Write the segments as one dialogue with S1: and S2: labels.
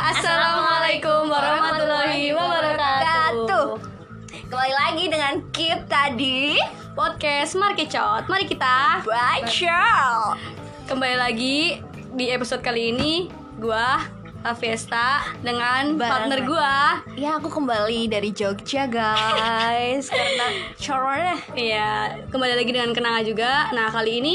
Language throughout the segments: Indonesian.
S1: Assalamualaikum warahmatullahi wabarakatuh.
S2: Kembali lagi dengan Kip tadi
S1: Podcast Markecot. Mari kita
S2: Baca
S1: kembali lagi di episode kali ini gua La Fiesta dengan
S2: Barang
S1: partner
S2: lagi.
S1: gua.
S2: Ya aku kembali dari Jogja guys Karena corona
S1: Iya, kembali lagi dengan Kenanga juga. Nah, kali ini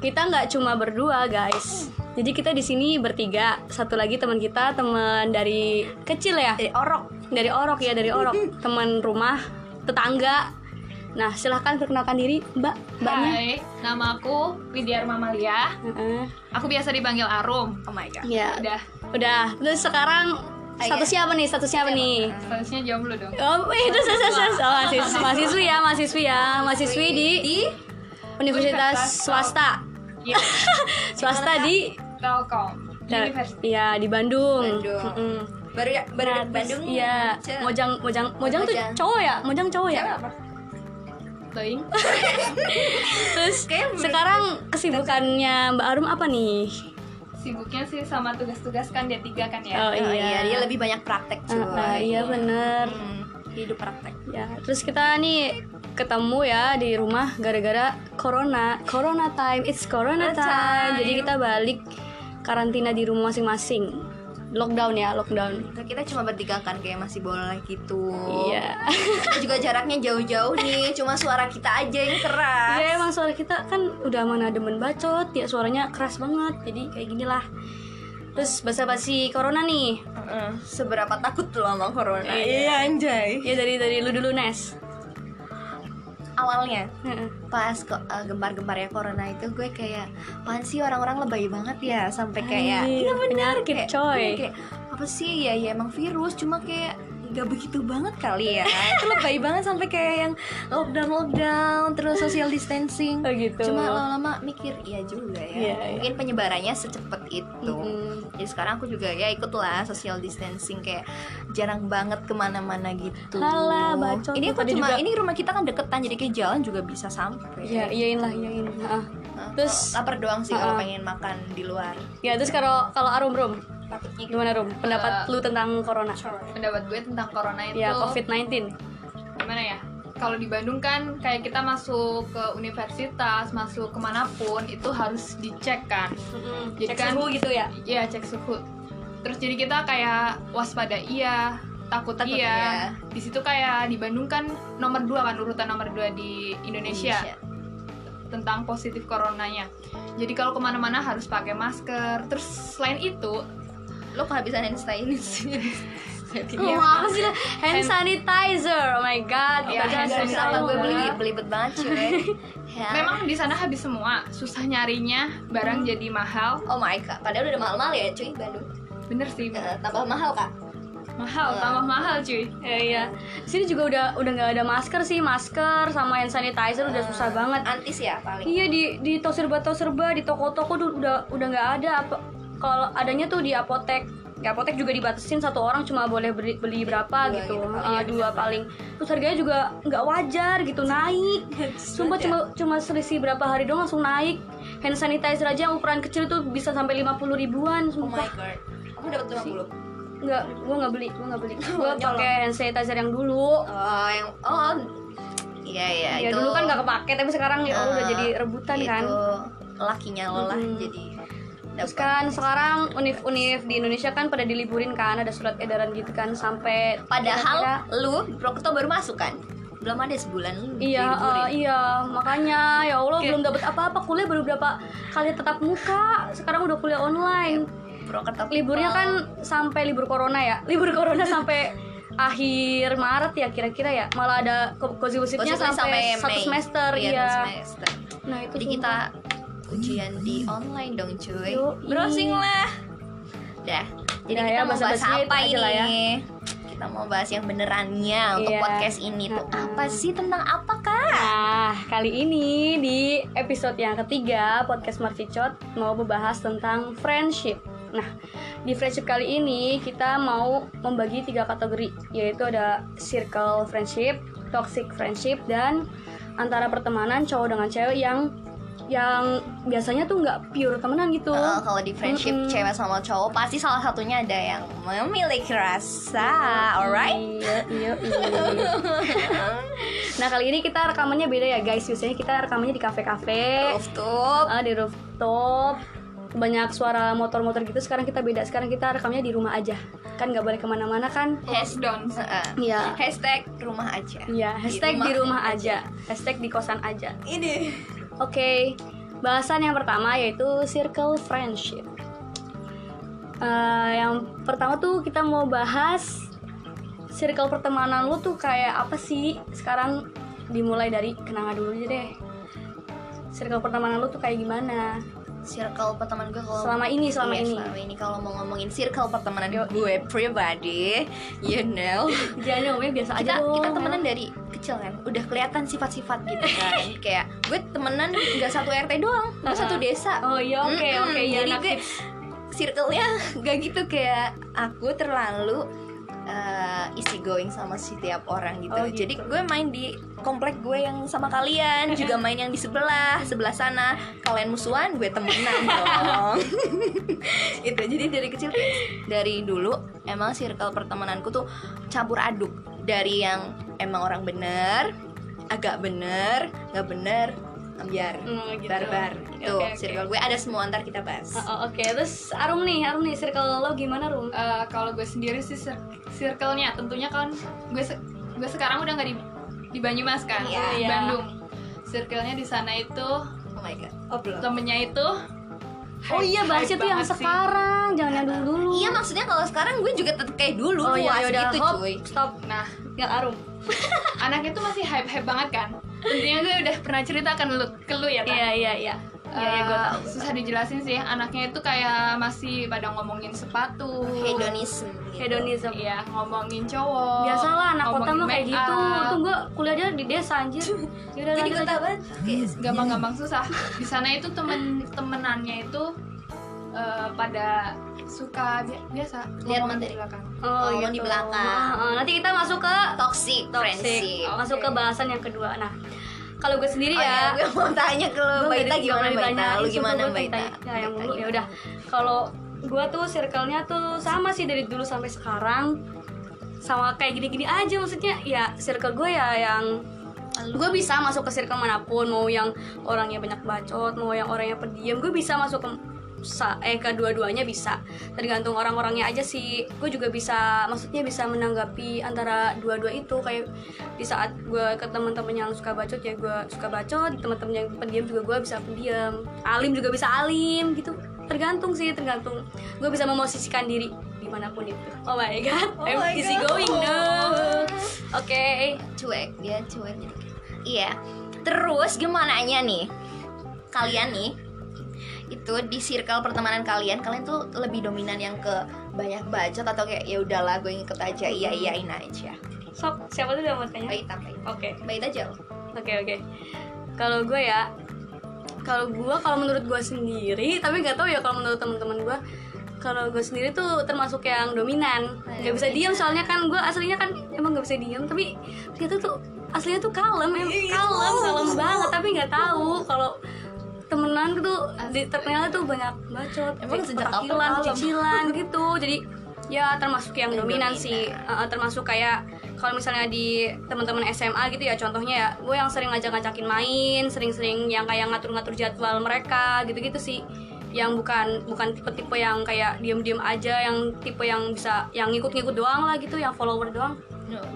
S1: kita nggak cuma berdua, guys. Jadi kita di sini bertiga. Satu lagi teman kita, teman dari kecil ya.
S2: Dari orok
S1: Dari Orok ya, dari Orok. Teman rumah, tetangga. Nah, silahkan perkenalkan diri, Mbak. Mbaknya.
S3: Hai, nama aku Widya Mamalia.
S1: Heeh.
S3: Aku biasa dipanggil Arum.
S2: Oh my god
S1: Iya.
S3: Udah,
S1: Udah, terus sekarang
S2: Oke.
S1: statusnya apa nih? Statusnya apa nih?
S3: statusnya jomblo dong.
S1: Oh, eh, itu ses- ses- ses- oh, mahasiswi, mahasiswi ya, mahasiswi ya, mahasiswi di, Universitas
S3: Universitas
S1: swasta,
S3: Iya,
S1: swasta di,
S3: Telkom. Universitas.
S1: ya di Bandung.
S2: Bandung.
S1: Mm-mm.
S2: Baru ya, baru
S1: Nah, terus,
S2: Bandung
S1: Iya,
S2: Ce.
S1: Mojang, Mojang, Mojang tuh
S2: Mojang.
S1: cowok ya, Mojang cowok ya.
S2: Cewek apa?
S3: Teing.
S1: Terus
S2: Kayaknya belum-
S1: sekarang kesibukannya Mbak Arum apa nih?
S3: Sibuknya sih sama tugas-tugas kan D3 kan
S1: Oh,
S2: Oh
S3: ya.
S1: iya.
S2: iya dia lebih banyak praktek
S1: Ah,
S2: cuy
S1: ah, iya bener.
S2: Hmm, Hidup praktek
S1: Ya, terus kita nih ketemu ya di rumah gara-gara corona. Corona time, it's corona
S2: Corona time.
S1: time. Jadi kita balik karantina di rumah masing-masing. Lockdown ya, lockdown.
S2: Nah, kita cuma bertiga kan kayak masih boleh gitu
S1: Iya.
S2: Kita juga jaraknya jauh-jauh nih Cuma suara kita aja yang keras
S1: Ya emang suara kita kan udah mana demen bacot, ya suaranya keras banget. Jadi kayak ginilah. Terus basa-basi corona nih.
S2: Heeh, Seberapa takut lo sama corona
S1: Iya,
S2: anjay
S1: Ya dari dari lu dulu Nes.
S2: Awalnya
S1: Heeh.
S2: pas kok gembar-gembarnya corona itu gue kayak pan sih orang-orang lebay banget ya sampai kayak Iya,
S1: Anjir, penyakit,
S2: kayak,
S1: Iya, coy.
S2: iya, kayak, apa sih ya ya emang virus cuma kayak nggak begitu banget kali ya
S1: Iya.
S2: itu lebay banget sampai kayak yang lockdown lockdown terus social distancing
S1: Oh, gitu.
S2: cuma lama-lama mikir iya juga ya
S1: Iya, iya.
S2: mungkin penyebarannya secepat itu
S1: Mm-mm.
S2: jadi sekarang aku juga ya ikutlah social distancing kayak jarang banget kemana-mana gitu
S1: Halah, bacot.
S2: ini aku
S1: Tadi
S2: cuma
S1: juga-
S2: ini rumah kita kan deketan jadi kayak jalan juga bisa sampai
S1: Ya iyain lah, iyain. Heeh.
S2: Nah,
S1: Terus- uh,
S2: kalau lapar doang sih kalau
S1: Heeh.
S2: pengen makan di luar
S1: Ya terus kalau kalau Arum Rum,
S2: takutnya gitu.
S1: gimana Rum? Pendapat
S3: Eh,
S1: lu tentang corona?
S3: Pendapat gue tentang corona itu
S1: Ya COVID-19.
S3: gimana ya? Kalau di Bandung kan kayak kita masuk ke universitas, masuk kemanapun itu harus dicek kan.
S1: Jadi
S3: Cek suhu
S1: gitu ya.
S3: Iya, cek suhu. Terus jadi kita kayak waspada iya, takut,
S2: Takut
S3: iya.
S2: iya.
S3: Di situ kayak di Bandung kan nomor dua kan urutan nomor dua di Indonesia, tentang positif coronanya. Jadi kalau kemana-mana harus pakai masker. Terus selain itu
S2: lo kehabisan hand sanitizer
S1: Wah, apa sih lah? Iya. Hand sanitizer. Oh my god.
S3: Iya,
S1: Padahal
S3: hand
S1: susah
S2: susah lah gue
S1: banget.
S2: beli belibet banget cuy ya.
S3: memang di sana habis semua, susah nyarinya, barang jadi mahal.
S2: oh my god padahal udah mahal-mahal ya cuy Bandung
S3: Bener sih,
S2: Eh, tambah mahal kak
S3: mahal, tambah mahal cuy.
S1: Iya, iya. Di Sini juga udah udah nggak ada masker sih, masker sama hand sanitizer udah susah banget.
S2: antis ya paling
S1: Iya di di tos serba tos serba di toko-toko tuh udah udah nggak ada apa kalau adanya tuh di apotek di apotek juga dibatasin satu orang cuma boleh beli, beli berapa
S2: Dua
S1: gitu
S2: gitu paling,
S1: Eh,
S2: ya,
S1: dua paling terus harganya juga nggak wajar gitu naik sumpah
S2: ya.
S1: cuma cuma selisih berapa hari doang langsung naik hand sanitizer aja yang ukuran kecil tuh bisa sampai 50 ribuan
S2: oh my
S1: sumpah
S2: god kamu dapat 50
S1: nggak gua nggak beli gua nggak beli gua pakai hand sanitizer yang dulu
S2: oh yang oh iya iya
S1: ya
S2: itu
S1: dulu kan nggak kepake tapi sekarang ya Allah, udah
S2: Eh,
S1: jadi rebutan
S2: itu
S1: kan
S2: lakinya lo lah
S1: Mm-mm.
S2: jadi
S1: Terus
S2: dapat
S1: kan sekarang univ-univ di Indonesia kan pada diliburin kan ada surat edaran gitu kan sampai kira-kira-
S2: Padahal lu Prokerto baru masuk kan? Belum ada sebulan lu
S1: iya eh, iya makanya ya Allah belum dapat apa-apa kuliah baru berapa kali tetap muka sekarang udah kuliah online
S2: Prokerto
S1: liburnya kan sampai libur corona ya libur corona sampai akhir Maret ya kira-kira ya malah ada ko- kozi
S2: Maksudnya
S1: gosipnya sampai, satu
S2: Mei.
S1: semester
S2: Iya,
S1: iya
S2: satu semester.
S1: nah itu
S2: Jadi
S1: sumpah.
S2: kita ujian di online dong cuy
S1: Yoi.
S2: Browsing lah Dah Jadi
S1: Udah
S2: kita
S1: ya,
S2: mau bahas
S1: basa-basinya itu
S2: apa
S1: aja lah
S2: ini?
S1: ya.
S2: Kita mau bahas yang benerannya untuk
S1: Iya.
S2: podcast ini tuh Apa sih tentang apa kak?
S1: Nah, kali ini di episode yang ketiga podcast Marficot mau membahas tentang friendship. Nah, di friendship kali ini kita mau membagi tiga kategori, yaitu ada circle friendship, toxic friendship, dan antara pertemanan cowok dengan cewek yang yang biasanya tuh nggak pure temenan gitu
S2: Eh, kalau di friendship
S1: Mm-mm.
S2: cewek sama cowok pasti salah satunya ada yang memiliki rasa, alright?
S1: Iya, iya, iya. nah kali ini kita rekamannya beda ya guys. Biasanya kita rekamannya di
S2: Oh,
S1: kafe-kafe,
S2: Rooftop.
S1: ah, di rooftop, banyak suara motor-motor gitu. Sekarang kita beda. Sekarang kita rekamnya di rumah aja. Kan nggak boleh kemana-mana kan?
S3: Lockdown.
S2: Heeh.
S1: Iya.
S2: Hashtag rumah aja.
S1: Iya. Hashtag di rumah aja. Hashtag di kosan aja.
S2: Ini.
S1: Oke. Bahasan yang pertama yaitu circle friendship. Eh, yang pertama tuh kita mau bahas circle pertemanan lu tuh kayak apa sih? Sekarang dimulai dari kenangan dulu aja deh. Circle pertemanan lu tuh kayak gimana?
S2: Circle pertemanan gue kalau
S1: Selama ini, selama
S2: Iya,
S1: ini.
S2: selama ini kalau mau ngomongin circle pertemanan gue pribadi, you know.
S1: Jangan ngomongnya ya, biasa aja ya.
S2: kita
S1: dong.
S2: kita temenan dari kecil kan udah kelihatan sifat-sifat gitu kan kayak gue temenan nggak satu rt doang gue satu desa
S1: Oh iya, oke,
S2: Mm-mm.
S1: oke, iya,
S2: jadi
S1: anak
S2: gue circle-nya gak gitu kayak aku terlalu eh, easy going sama setiap orang gitu.
S1: Oh, gitu.
S2: Jadi gue main di komplek gue yang sama kalian, juga main yang di sebelah, sebelah sana. Kalian musuhan, gue temenan dong. itu jadi dari kecil dari dulu emang circle pertemananku tuh campur aduk dari yang emang orang bener, agak bener, nggak bener, ambiar,
S1: Hmm, gitu.
S2: barbar.
S1: Oke,
S2: Itu
S1: oke, oke.
S2: circle gue ada semua ntar kita bahas.
S1: Oh, oh, oke, terus Arum nih, Arum nih circle lo gimana, Rum?
S3: Eh, kalau gue sendiri sih cir- circle-nya tentunya kan gue se- gue sekarang udah nggak di di Banyumas kan,
S2: Iya.
S1: Iya.
S3: di Bandung. Circle-nya di sana itu
S2: Oh my god.
S1: Oh, belum.
S3: temennya itu
S1: Oh
S3: hype-
S1: iya, bahas
S3: hype
S1: itu yang
S3: banget sih.
S1: sekarang, jangan yang dulu-dulu.
S2: Iya maksudnya kalau sekarang gue juga tetep kayak dulu
S1: Oh iya,
S2: puas
S1: yaudah,
S2: gitu
S1: hop,
S2: cuy.
S1: stop.
S3: Nah,
S1: Nggak Arum.
S3: anaknya tuh masih hype hype banget kan. Tentunya gue udah pernah cerita kan lu, ke lu ya kan.
S1: Iya iya iya. Iya iya gue
S3: Eh,
S1: tahu.
S3: susah dijelasin sih anaknya itu kayak masih pada ngomongin sepatu
S2: Hedonism. Gitu.
S1: Hedonism.
S3: Iya, ngomongin cowok
S1: Biasalah anak kota
S3: ngomongin
S1: mah kayak
S3: make
S1: gitu.
S3: up.
S1: Tuh gue kuliahnya di desa anjir. Yaudah
S2: Jadi
S1: lanjut
S2: gue
S1: aja.
S2: tahu banget. Kayak
S3: gampang-gampang susah di sana itu temen temenannya itu eh, pada suka bi- biasa
S2: Lihat
S3: ngomongin
S2: materi.
S3: di belakang
S1: Oh,
S2: ngomong
S1: gitu.
S2: di belakang.
S1: Nah, nanti kita masuk ke
S2: toxic,
S1: toxic. iya.
S2: friendship.
S3: Oh,
S1: Masuk
S3: Oke.
S1: ke bahasan yang kedua. Nah, kalau gue sendiri
S2: Oh
S3: iya,
S2: ya,
S1: ya,
S2: gue mau tanya ke lu
S1: Gua
S2: Baita
S1: nggak di-
S2: gimana
S1: nggak
S2: Baita?
S1: ditanyain,
S2: Lu
S1: sumpah
S2: gimana
S1: gua
S2: Baita?
S1: ditanya- Nah, yang dulu
S2: Baita
S1: ya
S2: gimana?
S1: udah. Kalau gue tuh circle-nya tuh sama sih dari dulu sampai sekarang sama kayak gini-gini aja maksudnya ya circle gue ya yang gue bisa masuk ke circle manapun mau yang orangnya banyak bacot mau yang orangnya pendiam gue bisa masuk ke sa- eh kedua-duanya bisa tergantung orang-orangnya aja sih gue juga bisa maksudnya bisa menanggapi antara dua-dua itu kayak di saat gue ke teman-teman yang suka bacot ya gue suka bacot teman-teman yang pendiam juga gue bisa pendiam alim juga bisa alim gitu tergantung sih tergantung gue bisa memosisikan diri dimanapun itu oh my god
S2: Oh
S1: I'm
S2: my
S1: easy
S2: God.
S1: going now oke
S2: cuek dia cuek gitu iya terus gimana nih kalian nih itu di circle pertemanan kalian kalian tuh lebih dominan yang ke banyak bacot atau kayak ya udahlah gue ngikut aja iya iyain aja
S1: Sok, siapa tuh yang mau tanya? Oke,
S2: baik apa
S1: oke,
S2: baik aja loh
S1: oke. Kalau gue ya, kalau gue, kalau menurut gue sendiri, tapi nggak tahu ya kalau menurut teman-teman gue, kalau gue sendiri tuh termasuk yang dominan, nggak
S2: Iya,
S1: bisa diam soalnya kan gue aslinya kan emang nggak bisa diam, tapi ternyata tuh aslinya tuh kalem,
S2: Iya,
S1: em, kalem, kalem banget, tapi nggak tahu kalau temenan tuh di, ternyata tuh banyak bacot,
S2: Emang sejak kapan
S1: petakilan,
S2: kalem?
S1: cicilan gitu, jadi ya termasuk yang dominan
S2: Dominan.
S1: sih Uh, termasuk kayak kalau misalnya di teman-teman SMA gitu ya contohnya ya gue yang sering ngajak-ngajakin main sering-sering yang kayak ngatur-ngatur jadwal mereka gitu-gitu sih yang bukan bukan tipe-tipe yang kayak diem-diem aja yang tipe yang bisa yang ngikut-ngikut doang lah gitu yang follower doang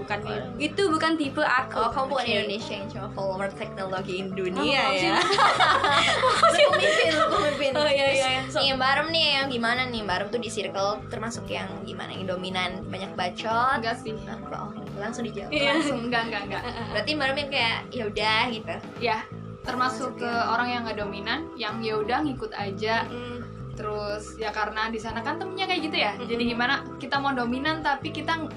S1: bukan itu bukan tipe aku Iya.
S2: Iya. Oh, kamu bukan
S1: Oke.
S2: Indonesia yang cuma follower teknologi Indonesia
S1: Oh,
S2: ya. Lu pemimpin, lu pemimpin.
S1: oh iya iya iya. So-
S2: Nih, Mbak Arum nih yang gimana nih? Mbak Arum tuh di circle termasuk yang gimana? Yang dominan, banyak bacot.
S3: enggak sih
S2: Ah, Oh, langsung dijawab.
S1: Iya.
S3: langsung enggak enggak enggak
S2: Berarti Mbak Arum yang kayak ya udah gitu.
S3: ya termasuk ke
S1: iya.
S3: orang yang nggak dominan yang ya udah ngikut aja
S1: Mm,
S3: terus ya karena di sana kan temennya kayak gitu ya jadi gimana kita mau dominan tapi kita ya, ng-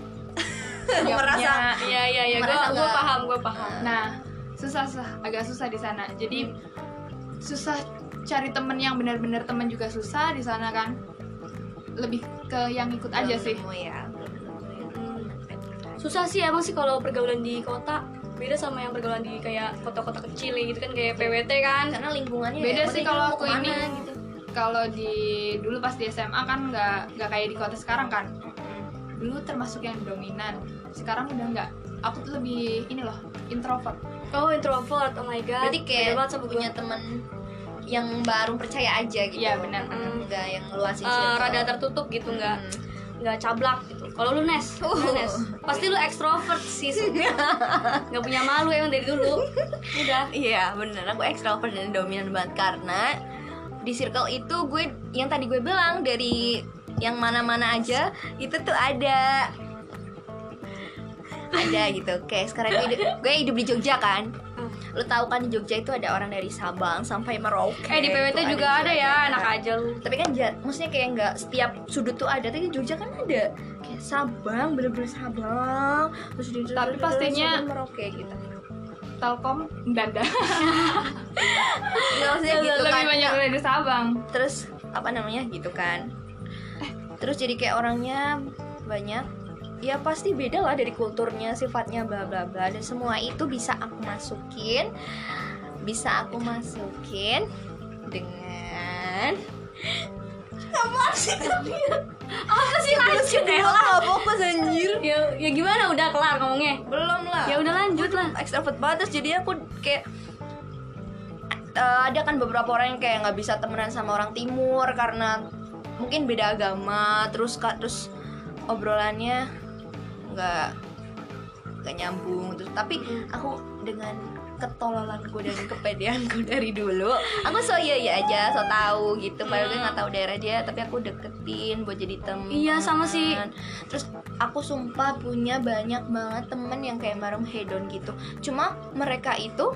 S3: nggak
S2: Merasa-
S3: punya-
S1: iya iya iya gue
S2: Merasa
S1: gue
S2: nggak-
S1: paham gue paham
S3: Nah, susah susah agak susah di sana. Jadi susah cari temen yang benar-benar temen juga susah di sana kan. Lebih ke yang ikut aja
S2: Belum
S3: sih.
S2: nemu ya. belum nemu ya.
S1: Mm. susah sih emang sih kalau pergaulan di kota beda sama yang pergaulan di kayak kota-kota kecil ya gitu kan kayak PWT kan
S2: karena lingkungannya
S3: Beda
S2: yang penting
S3: sih
S2: lu
S3: kalau
S2: mau
S3: aku
S2: Iya, kemana,
S3: ini.
S2: gitu.
S3: kalau di dulu pas di SMA kan nggak nggak kayak di kota sekarang kan dulu termasuk yang dominan sekarang udah nggak aku tuh lebih ini loh introvert
S1: oh introvert oh my god
S2: berarti
S1: Beda
S2: kayak
S1: banget sama
S2: punya
S1: gue.
S2: temen yang baru percaya aja gitu
S3: Iya, benar.
S2: Hmm, nggak yang luasin
S1: Eh,
S2: circle.
S1: rada tertutup gitu nggak
S2: Hmm.
S1: nggak cablak gitu kalau lu nes lu
S2: Uh.
S1: nes pasti lu ekstrovert sih sebenarnya. nggak punya malu emang dari dulu udah
S2: Iya bener, aku extrovert dan dominan banget karena di circle itu gue yang tadi gue bilang dari yang mana-mana aja itu tuh ada ada gitu. Oke, sekarang gue, hidup- gue hidup di Jogja kan. Lo tahu kan di Jogja itu ada orang dari Sabang sampai Merauke.
S1: eh di PWT
S2: tuh
S1: juga ada ya
S2: anak
S1: enak aja lu
S2: Tapi kan ja- maksudnya kayak nggak setiap sudut tuh ada, tapi di Jogja kan ada kayak Sabang, bener-bener Sabang. Terus di
S3: Tapi pastinya-
S2: sampai Merauke gitu.
S3: Telkom Danda
S2: Nggak, maksudnya gitu
S3: lebih
S2: kan.
S3: banyak dari Sabang
S2: terus apa namanya gitu kan terus jadi kayak orangnya banyak ya pasti beda lah dari kulturnya sifatnya bla bla bla dan semua itu bisa aku masukin bisa aku masukin dengan apa sih tadi apa sih lanjut ya? deh lah fokus anjir
S1: ya ya gimana udah kelar ngomongnya
S2: belum lah
S1: ya udah lanjut lah
S2: extrovert banget terus jadi aku kayak eh, ada kan beberapa orang yang kayak nggak bisa temenan sama orang timur karena mungkin beda agama terus ka- terus obrolannya nggak nggak nyambung terus tapi aku dengan ketololanku dan kepedeanku dari dulu aku so iya iya aja so tahu gitu padahal gue nggak tahu daerah dia tapi aku deketin buat jadi temen
S1: Iya, sama sih.
S2: terus aku sumpah punya banyak banget temen yang kayak marung hedon gitu cuma mereka itu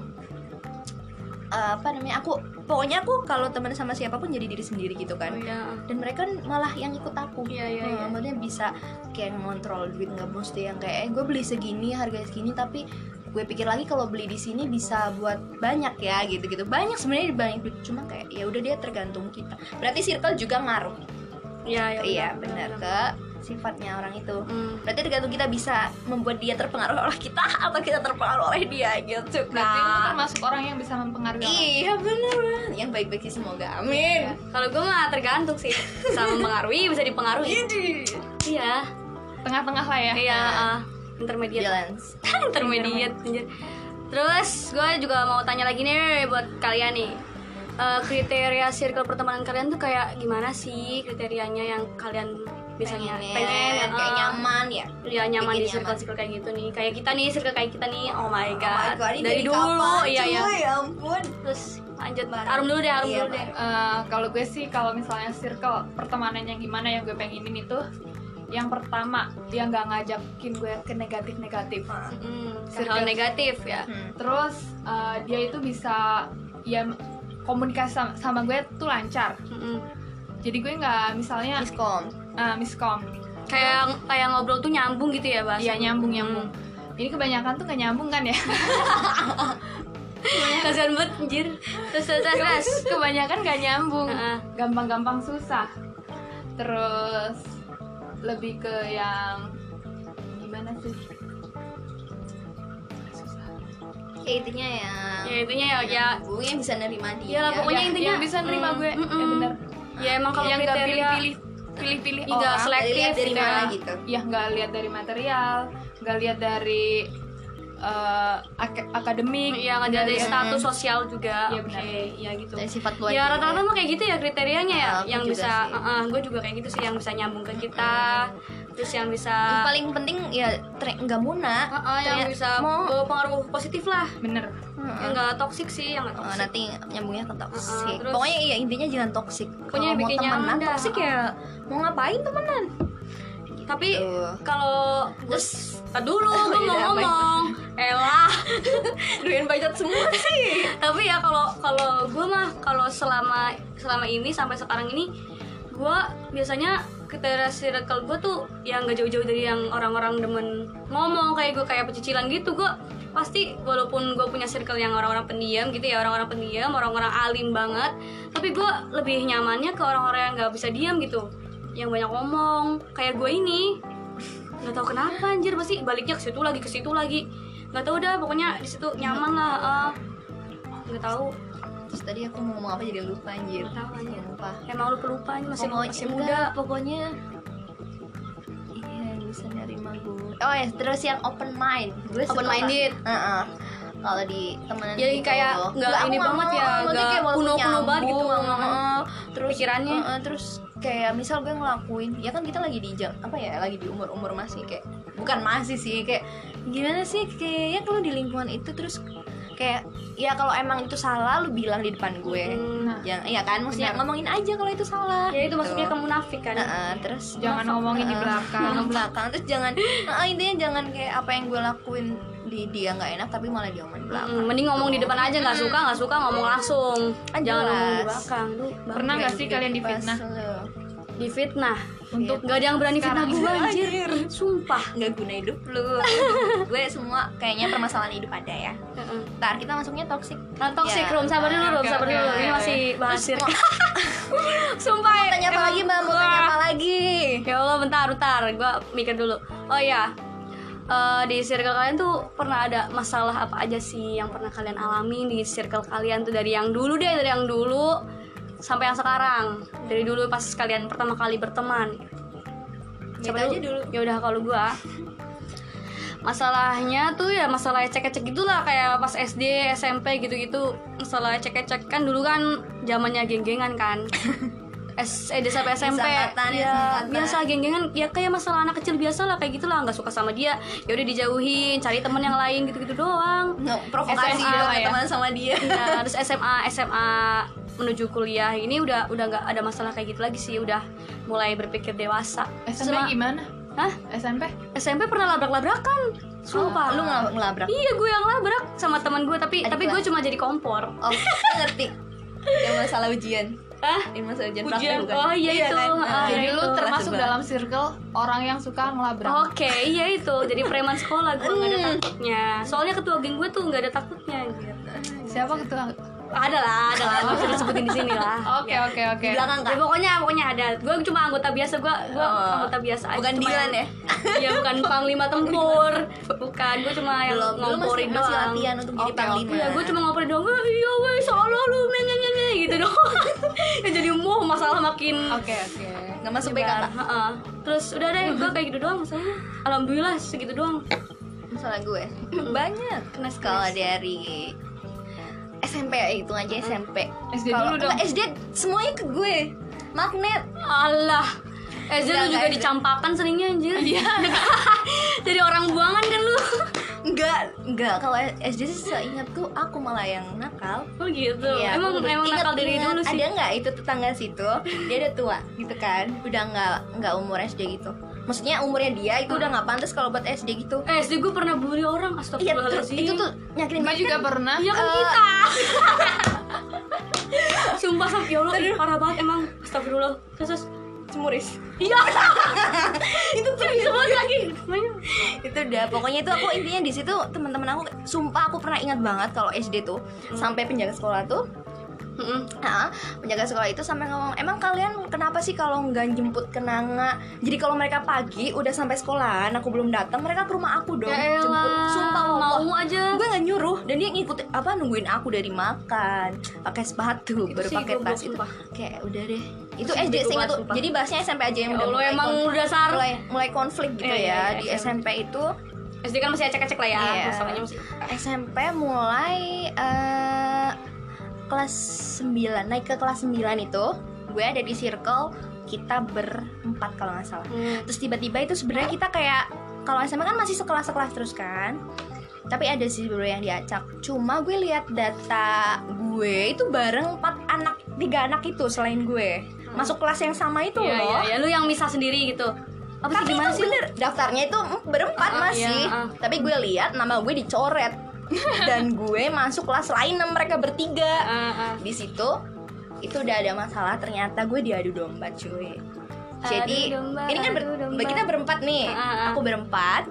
S2: eh, apa namanya aku pokoknya aku kalau temen sama siapapun jadi diri sendiri gitu kan
S1: oh, ya.
S2: dan mereka malah yang ikut aku
S1: Iya, iya,
S2: Nah,
S1: iya.
S2: maksudnya bisa kayak ngontrol duit nggak mesti yang kayak eh, gue beli segini harga segini tapi gue pikir lagi kalau beli di sini bisa buat banyak ya gitu gitu banyak sebenarnya banyak cuma kayak ya udah dia tergantung kita berarti circle juga ngaruh
S1: Iya, ya,
S2: iya benar ke sifatnya orang itu
S1: Hmm.
S2: berarti tergantung kita bisa membuat dia terpengaruh oleh kita atau kita terpengaruh oleh dia gitu
S3: berarti
S1: Nah,
S3: lu
S2: kan
S3: termasuk orang yang bisa mempengaruhi orang.
S2: iya bener banget yang baik-baik sih semoga amin
S1: Kalau gue mah tergantung sih Bisa mempengaruhi, bisa dipengaruhi Iya
S3: tengah-tengah lah ya
S1: Iya, ah, intermediate
S2: balance
S1: Intermediate anjir. Terus gue juga mau tanya lagi nih buat kalian nih Eh, Kriteria circle pertemanan kalian tuh kayak gimana sih kriterianya yang kalian biasanya
S2: pengen,
S1: pengen,
S2: kayak
S1: eh,
S2: nyaman ya
S1: Ya nyaman
S2: Bikin
S1: di
S2: nyaman.
S1: circle-circle kayak gitu nih Kayak kita nih, circle kayak kita nih Oh my
S2: Oh my
S1: god,
S2: God, ini
S1: Dari, dulu,
S2: kapan,
S1: iya iya
S2: cuy? ya ampun
S1: Terus lanjut, Arum dulu deh, Arum
S2: Iya,
S1: dulu deh
S3: Eh, kalau gue sih kalau misalnya circle pertemanan yang gimana yang gue pengenin itu yang pertama dia nggak ngajakin gue ke negatif negatif
S1: Hmm,
S3: Circle.
S1: Circle negatif ya
S2: Hmm.
S3: terus eh, dia itu bisa ya komunikasi sama, sama gue tuh lancar
S1: Mm-mm.
S3: jadi gue nggak misalnya
S2: miskom
S3: eh, miskom
S1: kayak kayak ngobrol tuh nyambung gitu ya
S3: ya
S1: bahasanya
S3: nyambung nyambung ini kebanyakan tuh nggak nyambung kan ya
S2: Iya.
S1: kasihan banget anjir terus terus terus, terus.
S3: kebanyakan nggak nyambung
S1: Heeh.
S3: gampang-gampang susah terus lebih ke yang gimana sih
S2: ya intinya ya
S1: ya itunya ya ya
S2: gue yang bisa nerima dia
S1: ya lah pokoknya
S3: Yang-
S1: intinya
S3: yang bisa nerima
S1: mm,
S3: gue. Ya,
S1: mm-mm.
S3: bener.
S1: ya emang kalau
S3: yang nggak
S1: kriteria
S3: pilih-pilih pilih-pilih
S1: Iya,
S3: orang
S1: selek-
S2: Dari-
S1: selektif
S2: Oh, dari
S1: gitu
S2: mana
S1: ya.
S2: gitu
S3: ya nggak lihat dari material nggak lihat dari eh, ak- akademik
S1: ya nggak
S2: Iya,
S1: dari
S3: Dari-
S1: status sosial juga
S3: Iya,
S1: oke
S3: benar.
S1: ya gitu
S2: dari sifat luar
S1: ya
S2: diri.
S1: rata-rata mah kayak gitu ya kriterianya ya
S2: Ah, aku
S1: yang
S2: juga
S1: bisa
S2: sih. Iya.
S1: heeh, gue juga kayak gitu sih yang bisa nyambung ke kita terus yang
S2: yang
S1: bisa
S2: paling penting ya tre- nggak muna
S1: heeh, Ah, yang
S2: Ternyata-
S1: bisa
S2: mau Hmm.
S1: bawa pengaruh positif lah
S3: bener
S1: yang nggak toksik sih yang nggak
S2: Oh,
S1: toksik
S2: nanti nyambungnya ke toxic.
S1: Uh-uh, terus-
S2: Pokoknya iya intinya jangan toxic.
S1: Pokoknya
S2: Kalau mau
S1: bikin nyaman
S2: temenan
S1: dah.
S2: toxic ya mau ngapain temenan?
S1: tapi
S2: Gitu.
S1: kalau terus dulu gue mau
S2: Iya, baik.
S1: ngomong elah
S2: Duin pajak semua sih.
S1: tapi ya kalau kalau gue mah kalau selama selama ini sampai sekarang ini gue biasanya kriteria circle gue tuh yang gak jauh-jauh dari yang orang-orang demen ngomong kayak gue kayak pecicilan gitu gue pasti walaupun gue punya circle yang orang-orang pendiam gitu ya orang-orang pendiam orang-orang alim banget tapi gue lebih nyamannya ke orang-orang yang nggak bisa diam gitu yang banyak ngomong kayak gue ini nggak tahu kenapa anjir pasti baliknya ke situ lagi ke situ lagi nggak tahu dah pokoknya di situ nyaman lah ah. nggak tahu
S2: Terus tadi aku mau ngomong apa jadi lupa anjir.
S1: nggak tahu anjir
S2: Lupa.
S1: emang lu pelupa ini masih
S2: Pokoknya-
S1: masih
S2: enggak,
S1: muda
S2: pokoknya iya bisa nerima gue oh ya terus yang open mind gue suka.
S1: Open minded.
S2: Heeh. kalau di temenan
S1: Jadi
S2: gitu.
S1: kayak nggak
S2: aku
S1: ini banget ya,
S2: mau, maksudnya
S1: nggak
S2: kayak walaupun
S1: kuno-kuno banget gitu.
S2: nyambung, heeh. terus
S1: Pikirannya.
S2: heeh, terus kayak misal gue ngelakuin ya kan kita lagi di jam apa ya lagi di umur umur masih kayak bukan masih sih kayak gimana sih kayak ya kalau di lingkungan itu terus kayak ya kalau emang itu salah lu bilang di depan gue
S1: Hmm.
S2: yang iya kan maksudnya
S3: Benar.
S2: ngomongin aja kalau itu salah
S1: ya itu
S2: gitu.
S1: maksudnya kamu munafik kan
S2: Heeh, terus
S3: Jangan ngomongin di
S2: heeh,
S3: belakang.
S2: ngomongin di belakang terus jangan heeh, intinya jangan kayak apa yang gue lakuin di dia nggak enak tapi malah diomongin di belakang Gitu.
S1: Hmm, mending ngomong di depan aja nggak suka nggak suka ngomong langsung jangan
S2: Ah, jelas.
S1: ngomong di belakang Duh, bang.
S3: Pernah nggak sih kalian difitnah?
S1: eh. di fitnah
S3: Untuk
S1: nggak ada yang berani fitnah
S3: Sekarang.
S1: gue anjir sumpah
S2: nggak guna hidup lu gue semua kayaknya permasalahan hidup ada ya
S1: Heeh.
S2: ntar kita masuknya toxic
S1: Nah, toxic
S2: Ya.
S1: room, sabar dulu, Rum,
S3: Oke,
S1: sabar
S3: oke,
S1: dulu.
S3: oke,
S1: Ini
S3: oke.
S1: masih ya. bahasir.
S2: sumpah mau Eh, tanya apa
S1: emang
S2: lagi mbak mau
S1: gua-
S2: tanya apa lagi
S1: Ya Allah, bentar, bentar. Gua mikir dulu. Oh iya. Eh, di circle kalian tuh pernah ada masalah apa aja sih yang pernah kalian alami di circle kalian tuh dari yang dulu deh, dari yang dulu sampai yang sekarang. Dari dulu pas kalian pertama kali berteman.
S2: Gitu aja dulu.
S1: Ya udah kalau gua masalahnya tuh ya masalah ecek-ecek gitulah kayak pas SD, SMP gitu-gitu masalah ecek-ecek kan dulu kan zamannya geng-gengan kan SD sampai SMP
S2: Sangkatan ya,
S1: ya,
S2: sangkatan.
S1: biasa geng-gengan ya kayak masalah anak kecil biasa lah kayak gitulah nggak suka sama dia ya udah dijauhin cari temen yang lain gitu-gitu doang
S2: no, provokasi
S1: SMA
S2: dong
S1: ya.
S2: teman sama dia
S1: ya terus SMA SMA menuju kuliah ini udah udah nggak ada masalah kayak gitu lagi sih udah mulai berpikir dewasa
S3: SMP
S1: Sama-
S3: gimana?
S1: Hah?
S3: SMP?
S1: SMP pernah labrak-labrakan sumpah
S2: Oh, lu ngelabrak ngelabrak
S1: Iya gue yang labrak sama teman gue tapi
S2: Adik
S1: tapi gue
S2: kelas.
S1: cuma jadi kompor.
S2: Oh, gue ngerti. Yang masalah ujian.
S1: Hah?
S2: Yang masalah ujian, praktek
S1: Ujian.
S2: bukan?
S1: Oh iya, itu.
S2: kan?
S1: Ah,
S2: Ah,
S3: Jadi
S1: iya
S3: lu
S1: itu.
S3: termasuk
S2: Kelas
S3: dalam circle orang yang suka ngelabrak.
S1: Oke, iya itu. Jadi preman sekolah gue nggak ada
S2: Hmm.
S1: takutnya. Soalnya ketua geng gue tuh nggak ada takutnya. Gitu.
S3: Siapa ketua?
S1: Ada lah, ada lah. Gak bisa disebutin di sini lah.
S3: Oke, oke, oke.
S2: Di belakang
S1: Ya
S2: kan?
S1: pokoknya pokoknya ada. Gue cuma anggota biasa. Gue gue
S2: Oh.
S1: anggota biasa. aja,
S2: Bukan
S1: cuma
S2: Dilan
S1: yang-
S2: ya?
S1: Iya bukan panglima tempur. Bukan. Gue cuma yang
S2: Belum, belum masih,
S1: ngomporin
S2: masih
S1: doang.
S2: latihan untuk jadi
S3: Oke,
S2: panglima.
S1: Iya, gue cuma ngobrol doang, "Eh, iya weh, salah lu, men, men, men, men," gitu doang Ya jadi mau masalah makin
S3: Oke, oke.
S2: nggak masuk
S1: Nyebar,
S2: PKK.
S1: heeh. Terus udah deh, gue kayak gitu doang masalahnya Alhamdulillah segitu doang
S2: Masalah gue banyak.
S1: Kenes,
S2: Kalau
S1: kenes.
S2: dari SMP ya itu aja SMP.
S3: SD
S2: Kalau
S3: dulu dong.
S2: enggak, SD semuanya ke gue. Magnet.
S1: Allah Eh,
S2: Enggak,
S1: lu juga
S2: enggak, Zul.
S1: dicampakan seringnya anjir Iya Jadi orang buangan kan lu
S2: Enggak, enggak. Kalau SD sih seingatku aku malah yang nakal.
S1: Oh gitu,
S2: Iya,
S1: emang
S2: aku udah
S1: emang
S2: ingat,
S1: nakal dari
S2: ingat.
S1: dulu sih
S2: Ada nggak itu tetangga situ? Dia udah tua gitu kan. Udah nggak nggak umur SD gitu. Maksudnya umurnya dia itu udah nggak pantas kalau buat SD gitu.
S1: Eh, SD gue pernah bully orang,
S2: Iya, terus
S1: astagfirullahaladzim
S2: itu tuh nyakitin
S3: Gue
S2: banget.
S3: juga pernah.
S1: Iya kan
S2: Eh.
S1: kita Sumpah, Sof, ya Allah, ih, parah banget emang Astagfirullah Terus, terus
S2: Cemuris.
S1: Iya Itu tuh bisa banget
S2: iya.
S1: lagi
S2: itu udah pokoknya itu aku intinya di situ teman-teman aku sumpah aku pernah ingat banget kalau SD tuh sampai penjaga sekolah tuh
S1: Mm-mm.
S2: Nah, penjaga sekolah itu sampai ngomong, emang kalian kenapa sih kalau nggak jemput kenanga? Jadi kalau mereka pagi udah sampai sekolahan, aku belum datang, mereka ke rumah aku dong
S1: Ya
S2: jemput.
S1: elah,
S2: Sumpah Allah.
S1: mau aja
S2: gue nggak nyuruh dan dia ngikut apa nungguin aku dari makan pakai
S1: Itu
S2: sepatu baru
S1: sih
S2: pakai
S1: goblok,
S2: tas itu
S1: sumpah.
S2: kayak udah deh itu
S1: sih
S2: SD
S1: bego
S2: seingat
S1: banget,
S2: tuh
S1: sumpah.
S2: jadi bahasnya SMP aja yang
S1: Ya
S2: udah
S1: Allah,
S2: mulai
S1: emang
S2: konflik-
S1: dasar.
S2: mulai, mulai konflik gitu
S1: Iya, iya,
S2: ya
S1: iya,
S2: di
S1: SMP.
S2: SMP itu
S1: SD kan masih acak-acak lah ya
S2: Iya.
S1: masalahnya masih
S2: SMP mulai eh, kelas 9 naik ke kelas 9 itu gue ada di circle kita berempat kalau nggak salah
S1: Hmm.
S2: terus tiba-tiba itu sebenarnya kita kayak kalau SMA kan masih sekelas-sekelas terus kan tapi ada sih beberapa yang diacak cuma gue lihat data gue itu bareng empat anak tiga anak itu selain gue masuk kelas yang sama itu
S1: Iya, iya,
S2: loh
S1: iya. lu yang misah sendiri gitu apa sih
S2: tapi
S1: gimana
S2: itu
S1: sih
S2: bener daftarnya itu berempat
S1: Ah, ah,
S2: masih
S1: iya, ah.
S2: tapi gue lihat nama gue dicoret dan gue masuk kelas lain sama mereka bertiga
S1: Ah, ah.
S2: Nah, di situ itu udah ada masalah ternyata gue diadu domba cuy jadi
S1: Adu domba,
S2: ini kan ber-
S1: adu domba.
S2: kita berempat nih
S1: Ah, ah, ah.
S2: aku berempat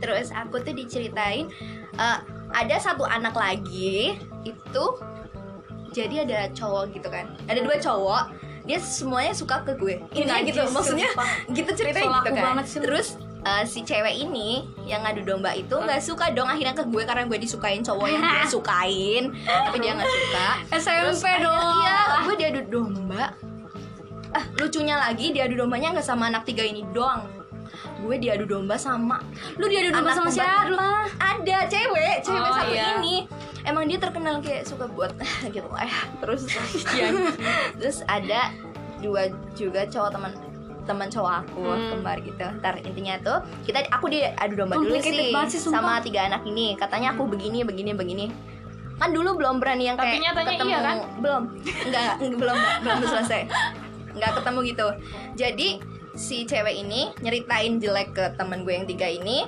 S2: terus aku tuh diceritain eh, ada satu anak lagi itu jadi ada cowok gitu kan ada
S1: Hmm.
S2: dua cowok dia semuanya suka ke gue ini
S1: Najis,
S2: gitu maksudnya
S1: Iya, sumpah.
S2: gitu ceritanya
S1: Soal
S2: gitu
S1: aku
S2: kan
S1: banget sih lu.
S2: terus eh, si cewek ini yang ngadu domba itu
S1: Hmm.
S2: nggak suka dong akhirnya ke gue karena gue disukain cowok yang dia sukain tapi dia nggak suka
S1: SMP
S2: akhirnya-
S1: dong.
S2: iya gue diadu domba ah lucunya lagi diadu dombanya nggak sama anak tiga ini doang gue diadu domba sama
S1: Lu diadu domba
S2: Anak
S1: sama
S2: pembantu.
S1: siapa?
S2: ada cewek cewek
S1: Oh,
S2: satu
S1: iya.
S2: ini emang dia terkenal kayak suka buat gitu lah ya. terus terus ada dua juga cowok teman teman cowok aku
S1: Hmm.
S2: kembar gitu ntar intinya tuh kita aku dia adu domba dulu
S1: Complicated
S2: sih
S1: banget sih, sumpah. Hmm.
S2: sama tiga anak ini katanya aku begini begini begini kan dulu belum berani yang kayak
S3: Tapi nyatanya
S2: ketemu
S3: iya kan?
S2: belum enggak enggak, belum belum selesai nggak ketemu gitu jadi si cewek ini nyeritain jelek ke teman gue yang tiga ini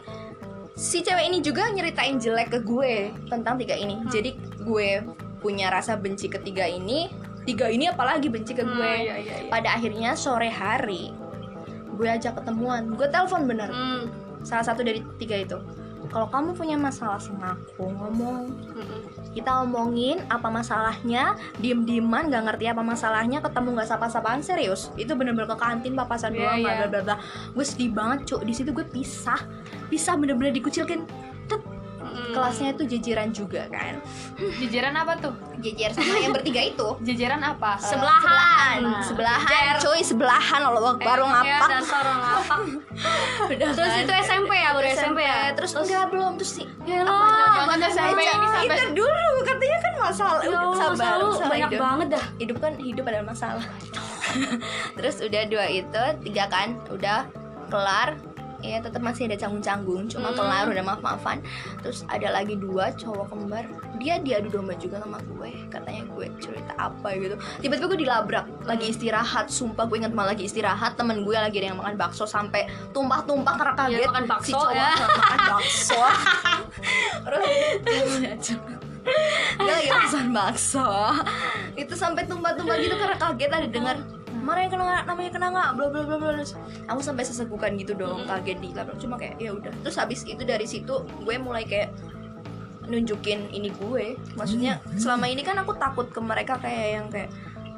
S2: si cewek ini juga nyeritain jelek ke gue tentang tiga
S3: Hmm.
S2: ini jadi gue punya rasa benci ketiga ini tiga ini apalagi benci ke
S1: Hmm,
S2: gue
S3: iya, iya, iya.
S2: pada akhirnya sore hari gue ajak ketemuan gue telepon bener
S1: Hmm.
S2: salah satu dari tiga itu kalau kamu punya masalah sama aku ngomong
S1: Mm-mm.
S2: kita omongin apa masalahnya diem dieman nggak ngerti apa masalahnya ketemu nggak sapa sapaan serius itu bener-bener ke kantin papasan
S3: Iya,
S2: doang
S3: iya.
S2: bla bla bla gue sedih banget cuk di situ gue pisah pisah bener-bener dikucilkan Tet,
S1: Mm-mm.
S2: kelasnya itu jejeran juga kan
S3: Jajaran apa tuh?
S2: jejer sama yang bertiga itu Eh,
S3: Jajaran apa?
S2: sebelahan sebelahan cuy sebelahan Allah Akbar lo
S1: Iya,
S2: ngapak
S1: dasar orang ngapak. Terus itu SMP ya, baru SMP, ya?
S2: terus enggak belum terus sih
S1: Ya
S3: Jangan-jangan SMP ini sampai
S2: Ah, itu dulu katanya kan masalah
S1: Ya
S2: udah
S1: Allah,
S2: sabar
S1: masa lu
S2: masalah
S1: banyak
S2: hidup.
S1: banget dah.
S2: hidup kan hidup adalah masalah terus udah dua itu tiga kan udah kelar ya tetap masih ada canggung-canggung
S1: Hmm.
S2: cuma kelar udah maaf-maafan terus ada lagi dua cowok kembar dia diadu domba juga sama gue katanya gue cerita apa gitu tiba-tiba gue dilabrak lagi istirahat sumpah gue inget malah lagi istirahat temen gue lagi ada yang makan bakso sampai tumpah-tumpah karena
S1: Iya,
S2: kaget
S1: makan
S2: si
S1: bakso,
S2: cowok
S1: ya.
S2: makan bakso
S1: ya,
S2: terus dia lagi pesan bakso itu sampai tumpah-tumpah gitu karena kaget ada dengar mana yang kena nggak? namanya kena nggak bla bla bla bla terus aku sampai sesegukan gitu dong kaget di labrak cuma kayak ya udah terus habis itu dari situ gue mulai kayak nunjukin ini gue maksudnya selama ini kan aku takut ke mereka kayak yang kayak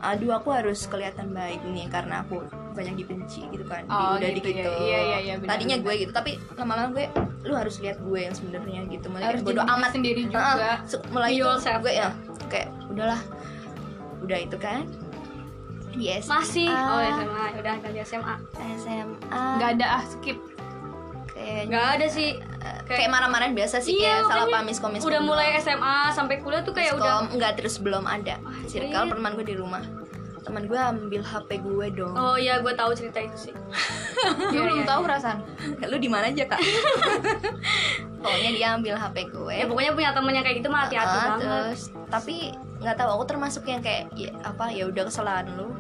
S2: aduh aku harus kelihatan baik nih karena aku banyak dibenci gitu kan Di-
S3: Oh,
S2: udah
S3: gitu
S2: gitu
S3: ya. Iya, iya, iya, benar,
S2: tadinya
S3: benar.
S2: gue gitu tapi lama-lama gue lu harus lihat gue yang sebenarnya gitu mulai
S3: harus
S2: kayak bodo
S3: jadi diri
S2: amat
S3: sendiri juga.
S2: Heeh, su- mulai
S1: Be
S2: itu
S1: yourself.
S2: gue ya kayak udahlah udah itu kan yes
S1: Masih.
S2: Ah.
S1: Oh, SMA. Ya Udah dari SMA.
S2: SMA
S3: Nggak ada ah skip.
S2: kayaknya
S1: Enggak ada sih.
S2: kayak marah-marah biasa sih
S1: Iya,
S2: kayak salah
S1: makanya
S2: paham miskomis
S1: Udah mulai SMA sampai kuliah tuh kayak ya, udah
S2: nggak terus belum ada
S1: iya.
S2: circle perman gue di rumah teman gue ambil HP gue dong
S1: Oh iya, gue tahu cerita itu sih.
S2: Hmm.
S3: Dia
S2: Oh, iya,
S3: belum tahu perasaan.
S2: lu di mana aja kak pokoknya dia ambil HP gue
S1: Ya pokoknya punya temen yang kayak gitu mah hati-hati
S2: Ah,
S1: banget.
S2: terus tapi nggak tahu aku termasuk yang kayak ya, apa ya udah kesalahan lu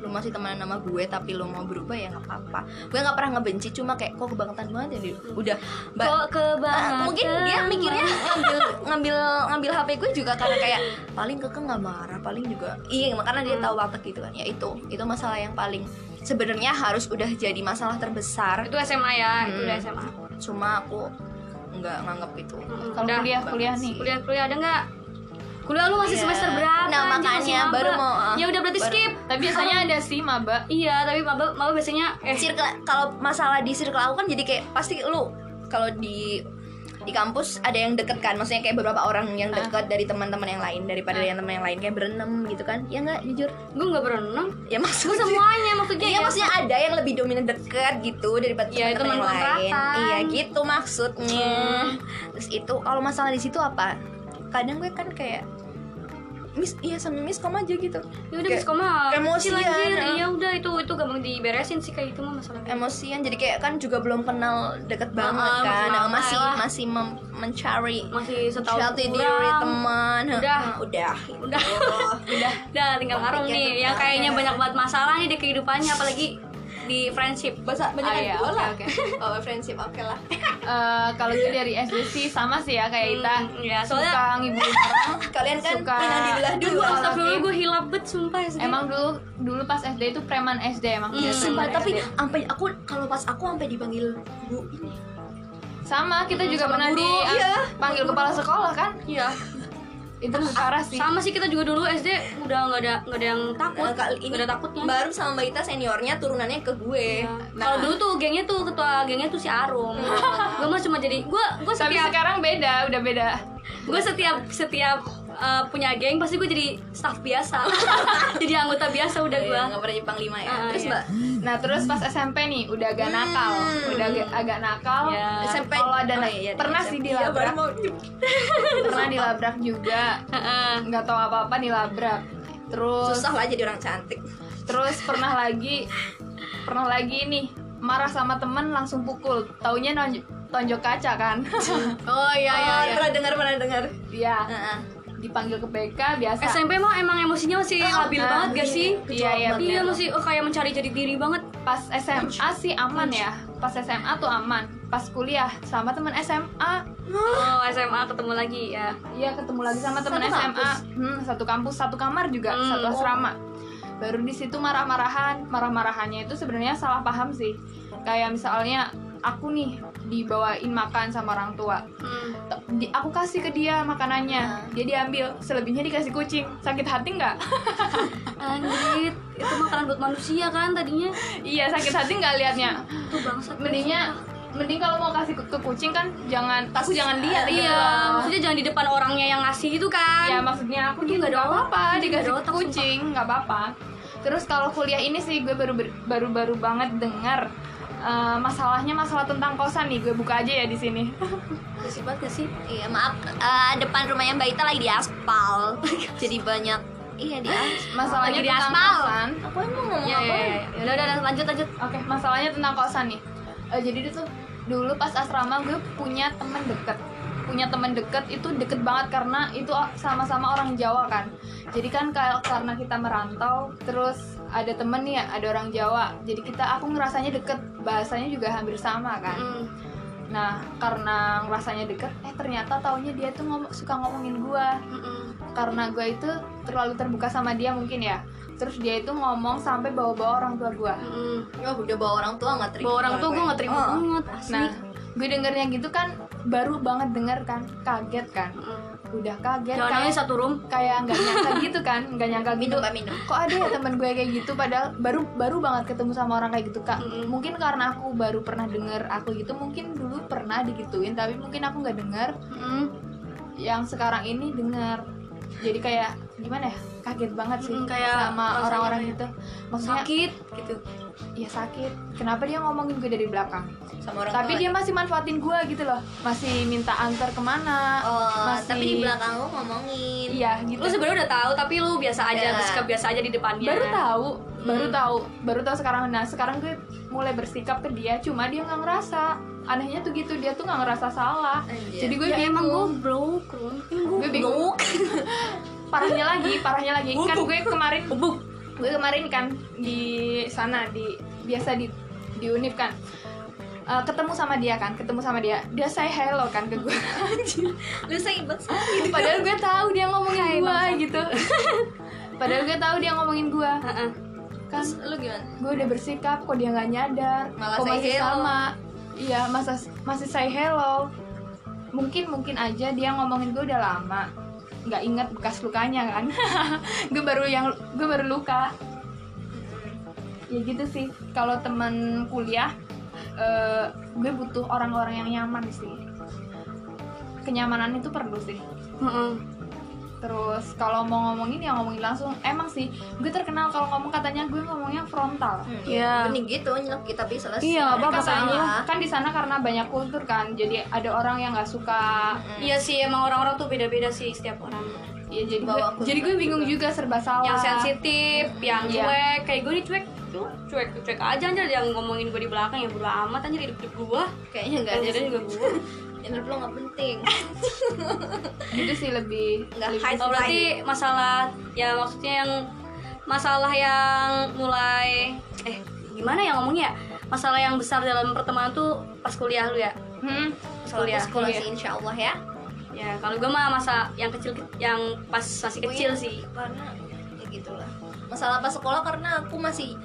S2: lu masih temenan sama gue tapi lu mau berubah ya nggak apa-apa gue nggak pernah ngebenci cuma kayak kok kebangetan banget ya dia udah ba-
S1: Kok kebangetan
S2: Ah, mungkin dia mikirnya ngambil ngambil ngambil HP gue juga karena kayak paling keke nggak marah paling juga iya karena dia tahu banget gitu kan ya itu itu masalah yang paling sebenarnya harus udah jadi masalah terbesar
S1: Itu SMA ya, itu
S2: Hmm.
S1: udah SMA.
S2: cuma aku nggak nganggap itu
S1: Mm-mm.
S3: Kalau
S1: Udah.
S3: kuliah, kuliah nih.
S1: Kuliah-kuliah ada nggak? Kuliah lu masih
S2: Iya.
S1: semester berapa?
S2: Nah,
S1: anjing?
S2: makanya
S1: Masih maba.
S2: baru mau, ah,
S1: Ya udah berarti
S2: baru-
S1: skip.
S3: Tapi biasanya ada sih maba.
S1: Iya, tapi maba maba biasanya eh
S2: circle kalau masalah di circle aku kan jadi kayak pasti lu kalau di di kampus ada yang deket kan maksudnya kayak beberapa orang yang deket dari teman-teman yang lain daripada yang teman yang lain kayak berenam gitu kan ya nggak jujur
S1: gue nggak berenang.
S2: ya
S1: Gue
S2: maksudnya
S1: semuanya maksudnya
S2: Iya
S1: ya.
S2: maksudnya ada yang lebih dominan deket gitu daripada
S1: Iya,
S2: teman-teman yang
S1: teman
S2: lain.
S1: kontrakan.
S2: Iya gitu maksudnya. Terus itu kalau masalah di situ apa? Kadang gue kan kayak Miss, iya sama Miss kom aja gitu.
S1: Ya udah bis
S2: Kayak
S1: koma.
S2: emosian,
S1: Anjir,
S2: ah.
S1: Iya udah itu itu gampang diberesin sih kayak itu mah masalah.
S2: Emosian jadi kayak kan juga belum kenal deket
S1: Ah,
S2: banget
S1: ah,
S2: kan.
S1: masih
S2: Nah,
S1: lama
S2: masih
S1: lah.
S2: masih mem- mencari
S1: Masih setahun
S2: jati diri
S1: kurang.
S2: teman.
S1: Udah.
S2: Ah, udah.
S1: Udah.
S2: udah.
S1: Udah tinggal Arung
S2: Konfliknya
S1: nih
S2: tuh
S1: yang kayaknya
S2: banyak.
S1: banyak banget masalah nih di kehidupannya apalagi di friendship.
S2: Bahasa
S3: banyakan Ah, iya, gua oke, lah. oke.
S2: Oh, friendship oke lah.
S3: Eh, kalau gue dari SD sih sama sih ya kayak Ita.
S1: Hmm, ya, soalnya-
S3: suka ngibulin orang.
S2: Kalian kan
S3: Suka.
S2: pinang dibelah dua.
S3: Aduh,
S1: Astagfirullah gue hilap bet sumpah SD.
S3: Emang dulu dulu pas SD itu preman SD emang.
S1: Iya,
S3: Iya,
S2: Hmm. Sumpah,
S3: preman
S2: tapi
S3: SD.
S2: sampai aku kalau pas aku sampai dipanggil Bu ini.
S3: sama kita juga
S1: sama
S2: Hmm,
S3: pernah ah,
S1: guru,
S3: dipanggil
S1: iya.
S3: kepala sekolah kan?
S1: Iya.
S3: itu
S2: Ah,
S3: parah sih
S1: sama sih kita juga dulu SD udah nggak ada nggak ada yang takut
S2: Nah, kali ini
S1: nggak ada takutnya
S2: baru sama Mbak Ita seniornya turunannya ke gue.
S1: Iya.
S2: Nah,
S1: kalau dulu tuh gengnya tuh ketua gengnya tuh si Arum gue mah cuma jadi gue gue
S3: tapi
S2: ya.
S1: setiap
S3: sekarang beda udah beda
S1: gue setiap setiap uh, punya geng pasti gue jadi staff biasa jadi anggota biasa udah
S2: Iya,
S1: gue
S2: nggak pernah Jepang lima ya.
S1: Ah,
S2: Terus
S1: iya.
S2: Mbak
S3: nah terus pas SMP nih udah agak nakal
S2: Hmm.
S3: udah agak, agak nakal
S1: Ya.
S2: SMP
S3: kalau ada
S2: Oh,
S3: na-
S2: iya, iya,
S3: pernah
S2: SMP.
S3: sih
S2: Iya, baru
S3: dilabrak
S2: mau
S3: pernah dilabrak juga nggak tahu apa apa dilabrak terus
S2: susah lah jadi orang cantik.
S3: terus pernah lagi pernah lagi nih marah sama temen langsung pukul taunya nonj- tonjok kaca kan
S1: oh iya iya
S2: Oh,
S1: iya.
S2: pernah dengar pernah dengar.
S3: iya
S2: Heeh.
S3: dipanggil ke BK biasa
S1: SMP mah emang emosinya masih
S2: Ah,
S1: labil
S3: ah,
S1: banget gak
S2: iya,
S1: sih
S2: kecolongan
S1: iya iya
S2: banget.
S1: iya masih oh, kayak mencari jadi diri banget
S3: pas SMA sih aman ya pas SMA tuh aman pas kuliah sama temen SMA
S1: oh SMA ketemu lagi ya
S3: Iya ketemu lagi sama temen
S2: Satu
S3: SMA
S2: kampus?
S3: Hmm, satu kampus satu kamar juga
S1: Hmm,
S3: satu
S1: oh.
S3: asrama baru di situ marah-marahan marah-marahannya itu sebenarnya salah paham sih kayak misalnya aku nih dibawain makan sama orang tua
S1: Hmm.
S3: T- di- aku kasih ke dia makanannya dia diambil selebihnya dikasih kucing sakit hati nggak
S1: Anjir, itu makanan buat manusia kan tadinya
S3: iya sakit hati nggak liatnya
S1: Itu bangsat
S2: Iya.
S3: mendingnya mending kalau mau kasih ke, ke kucing kan jangan aku jangan lihat gitu
S1: Iya,
S3: loh.
S1: maksudnya jangan di depan orangnya yang ngasih gitu
S2: Iya,
S3: ya
S1: kan
S3: maksudnya aku
S1: Dia
S3: juga
S1: nggak
S3: nggak
S1: ada
S3: apa-apa
S1: otak, dia
S3: dikasih
S1: nggak ada otak,
S3: kucing nggak apa-apa terus kalau kuliah ini sih gue baru baru baru banget dengar eh, masalahnya masalah tentang kosan nih gue buka aja ya di sini
S1: Berisik banget gak sih?
S2: Iya, maaf eh, depan rumahnya Mbak Ita lagi diaspal. jadi banyak iya di
S3: masalahnya
S1: Lagi di
S3: tentang
S1: aspal.
S3: kosan
S2: Aku emang ngomong
S1: Iya,
S2: apa?
S1: iya, iya Udah, udah, udah, lanjut, lanjut
S3: oke masalahnya tentang kosan nih Eh, jadi itu dulu pas asrama gue punya temen deket punya temen deket itu deket banget karena itu o- sama-sama orang Jawa kan jadi kan kalau karena kita merantau terus ada temen nih ada orang Jawa jadi kita aku ngerasanya deket bahasanya juga hampir sama kan
S1: Hmm.
S3: Nah, karena rasanya deket, eh ternyata taunya dia tuh ngom- suka ngomongin gua
S1: Mm-mm.
S3: Karena gua itu terlalu terbuka sama dia mungkin ya. Terus dia itu ngomong sampai bawa-bawa orang tua gua
S1: Mm-mm.
S2: Oh, udah bawa orang tua nggak terima.
S1: Bahwa mm. orang tua gue gak terima
S2: Oh.
S1: banget, asli
S3: Nah, gue dengernya gitu kan baru banget denger kan, kaget kan.
S1: Mm.
S3: Udah kaget
S1: Jangan nangis
S3: kayak
S1: satu room
S3: kayak nggak nyangka gitu kan, nggak nyangka
S2: Minum,
S3: gitu.
S2: Mbak, minum.
S3: Kok ada ya temen gue kayak gitu padahal baru baru banget ketemu sama orang kayak gitu, Kak.
S1: Mm-mm.
S3: Mungkin karena aku baru pernah denger aku gitu, mungkin dulu pernah digituin tapi mungkin aku nggak denger
S1: Mm-mm.
S3: yang sekarang ini dengar jadi kayak gimana ya kaget banget sih
S1: Mm, kayak rasanya
S3: sama orang-orang
S1: kayak
S3: gitu maksudnya
S1: Sakit, gitu
S3: ya sakit kenapa dia ngomongin gue dari belakang
S2: sama orang
S3: tapi
S2: tua.
S3: dia masih manfaatin gue gitu loh masih minta antar kemana
S2: Oh,
S3: masih
S2: tapi di belakang lu ngomongin.
S3: iya gitu
S1: Lu sebenarnya udah tahu, tapi lu biasa aja,
S2: Iya.
S1: bersikap biasa aja di depannya
S3: baru tahu baru
S2: Hmm.
S1: Mm.
S3: tahu baru tahu sekarang nah sekarang gue mulai bersikap ke dia cuma dia nggak ngerasa anehnya tuh gitu dia tuh nggak ngerasa salah
S2: Anjir.
S3: jadi gue
S1: Ya
S3: bingung
S1: emang goblok, Rum
S3: gue bingung parahnya lagi parahnya lagi kan
S1: Bubuk.
S3: gue kemarin
S1: Bubuk
S3: gue kemarin kan di sana di biasa di di univ kan Eh, ketemu sama dia kan ketemu sama dia dia say hello kan ke gue
S2: lu say banget.
S3: padahal gue tahu dia
S1: Hai,
S3: ngomongin gue
S1: bangsa.
S3: gitu padahal gue tahu dia ngomongin gue
S1: Heeh.
S3: kan
S2: Terus lu gimana?
S3: gue udah bersikap kok dia nggak nyadar
S2: Malah
S3: kok
S2: say
S3: masih
S2: hello.
S3: sama iya masa masih say hello mungkin mungkin aja dia ngomongin gue udah lama nggak ingat bekas lukanya kan gue baru yang gue baru luka ya gitu sih kalau teman kuliah eh, gue butuh orang-orang yang nyaman sih kenyamanan itu perlu sih
S1: Heeh.
S3: terus kalau mau ngomongin ya ngomongin langsung emang sih gue terkenal kalau ngomong katanya gue ngomongnya frontal
S2: Hmm,
S1: Iya.
S2: Mending gitu nyelok kita bisa selesai.
S1: Iya, nggak apa-apa,
S3: kan
S2: Mereka
S1: sayang.
S3: soalnya
S2: salah.
S3: kan di sana karena banyak kultur kan jadi ada orang yang nggak suka
S1: Iya sih, emang orang-orang tuh beda-beda sih setiap orang.
S3: ya jadi gue,
S2: Bawa kultur
S3: jadi gue bingung juga serba salah
S1: Yang sensitif, yang
S3: Iya.
S1: cuek, kayak gue nih cuek, tuh cuek, cuek aja anjir yang ngomongin gue di belakang ya bodo amat anjir hidup hidup gue.
S2: Kayaknya enggak ada.
S1: Anjir
S2: sih.
S1: juga gue.
S2: Menurut lu nggak penting.
S3: gitu sih lebih
S2: Nggak
S3: lebih-
S2: hide
S1: Oh,
S2: gitu.
S1: berarti masalah ya maksudnya yang masalah yang mulai eh gimana ya ngomongnya ya? Masalah yang besar dalam pertemanan tuh pas kuliah lu ya.
S3: Hmm,
S1: Pas
S2: Kalau
S1: kuliah.
S2: sekolah
S3: Iya.
S2: sih insya Allah ya.
S1: Ya, kalau gue mah masa yang kecil yang pas masih kecil
S2: Gue
S1: sih.
S2: Karena ya gitulah. Masalah pas sekolah karena aku masih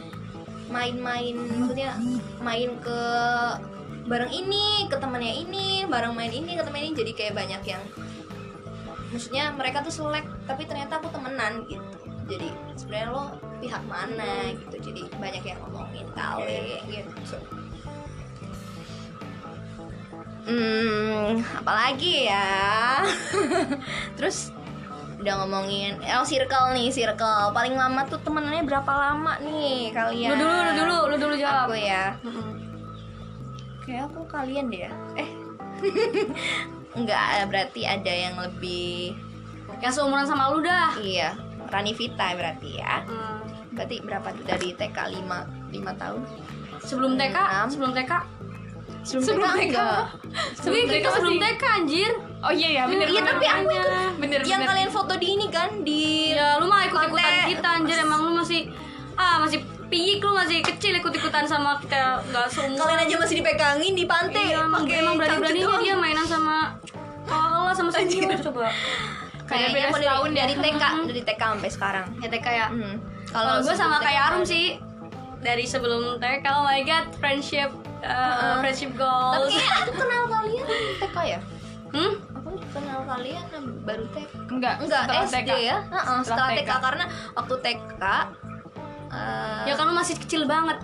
S2: main-main maksudnya main ke bareng ini, ke temannya ini, bareng main ini, ke teman ini jadi kayak banyak yang maksudnya mereka tuh selek tapi ternyata aku temenan gitu jadi sebenarnya lo pihak mana gitu jadi banyak yang ngomongin kali gitu hmm apalagi ya terus udah ngomongin oh circle nih circle paling lama tuh temenannya berapa lama nih
S1: Lu
S2: kalian
S1: dulu, lu dulu, lu dulu jawab.
S2: Iya. aku ya
S1: Mm-mm.
S2: Kayak aku kalian deh ya. Eh. Enggak, berarti ada yang lebih
S1: Yang seumuran sama lu dah.
S2: Iya, Ranivita berarti ya.
S1: Hmm.
S2: Berarti berapa tuh dari TK 5 5 tahun?
S1: Sebelum TK,
S2: Enam.
S1: sebelum TK.
S2: Sebelum,
S3: TK?
S2: enggak.
S1: Sebelum
S3: TK
S1: TK, sebelum
S3: masih-
S1: TK anjir.
S3: Oh iya ya, bener
S2: Iya,
S3: bener.
S2: tapi aku yang,
S3: bener
S2: yang
S3: bener.
S2: kalian foto di ini kan di
S1: Ya lu mah ikut-ikutan
S2: Konten.
S1: kita anjir emang lu masih ah masih piyik lu masih kecil ikut-ikutan sama kita nggak seumuran.
S2: kalian aja masih dipegangin di pantai.
S1: Iya, emang,
S2: pakai
S1: emang berani-beraninya
S2: cangcut
S1: dia
S2: doang.
S1: mainan sama kalau sama senior coba.
S2: Kayaknya
S3: Beda-beda
S2: aku
S3: setahun
S2: dari,
S3: ya.
S2: dari TK, dari TK sampai sekarang.
S1: Mm-hmm. Ya TK ya.
S2: Hmm.
S1: Kalau gue
S2: sebelum
S1: sama
S2: TK
S1: kayak Arum
S2: ada.
S1: sih dari sebelum TK. Oh my god, friendship uh, friendship
S2: Tapi
S1: goals.
S2: kayaknya aku kenal kalian TK ya?
S1: Hmm?
S2: aku kenal kalian baru TK
S3: enggak,
S2: enggak
S3: setelah
S2: SD
S3: TK.
S2: ya Heeh, setelah
S3: Setelah
S2: TK.
S3: TK.
S2: karena waktu TK eh,
S1: Ya kan lu masih kecil banget.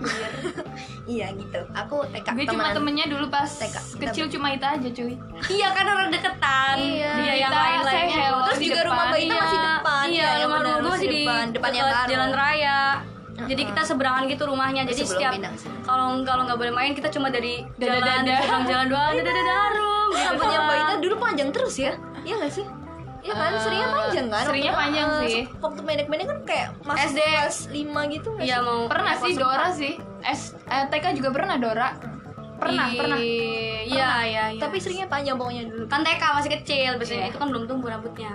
S2: iya gitu aku TK
S3: Gue cuma
S2: temenan.
S3: temennya dulu pas
S2: TK.
S3: kecil cuma itu aja cuy.
S1: iya kan orang deketan.
S2: Iya.
S1: Dia yang
S3: Kita
S1: lain-lain.
S3: say hello
S2: Terus
S3: di
S2: juga
S3: depan.
S2: rumah bayi- Kita
S1: Iya,
S2: masih depan,
S1: Iya,
S2: iya, yang
S1: rumah
S2: benar,
S1: gue
S2: masih
S1: masih di
S2: depan, depan yang
S1: dekat
S2: baru.
S1: jalan raya. Jadi
S2: Mm-mm.
S1: kita seberangan gitu rumahnya. Jadi
S2: Sebelum
S1: setiap Iya,
S2: pindah sini.
S1: kalau kalau nggak boleh main kita cuma dari
S3: Dadah-dadah.
S1: jalan seberang jalan doang.
S2: Iya.
S1: gitu Dadah darum.
S2: Kita punya
S1: kan.
S2: bayinya dulu panjang terus ya iya gak sih Iya kan,
S3: Eh,
S2: seringnya panjang kan?
S3: seringnya
S2: Waktu-
S3: panjang
S2: eh,
S3: sih.
S2: Waktu pendek-pendek kan kayak masuk
S1: SD.
S2: kelas 5 gitu nggak
S1: Iya
S2: sih?
S1: mau.
S3: Pernah
S1: mau
S3: sih
S1: sempat.
S3: Dora sih. S eh, TK juga pernah Dora. Pernah,
S1: Iya,
S3: pernah.
S1: Iya, iya, iya.
S2: Tapi seringnya panjang pokoknya dulu
S1: kan TK masih kecil biasanya
S3: Iya.
S1: itu kan belum tumbuh rambutnya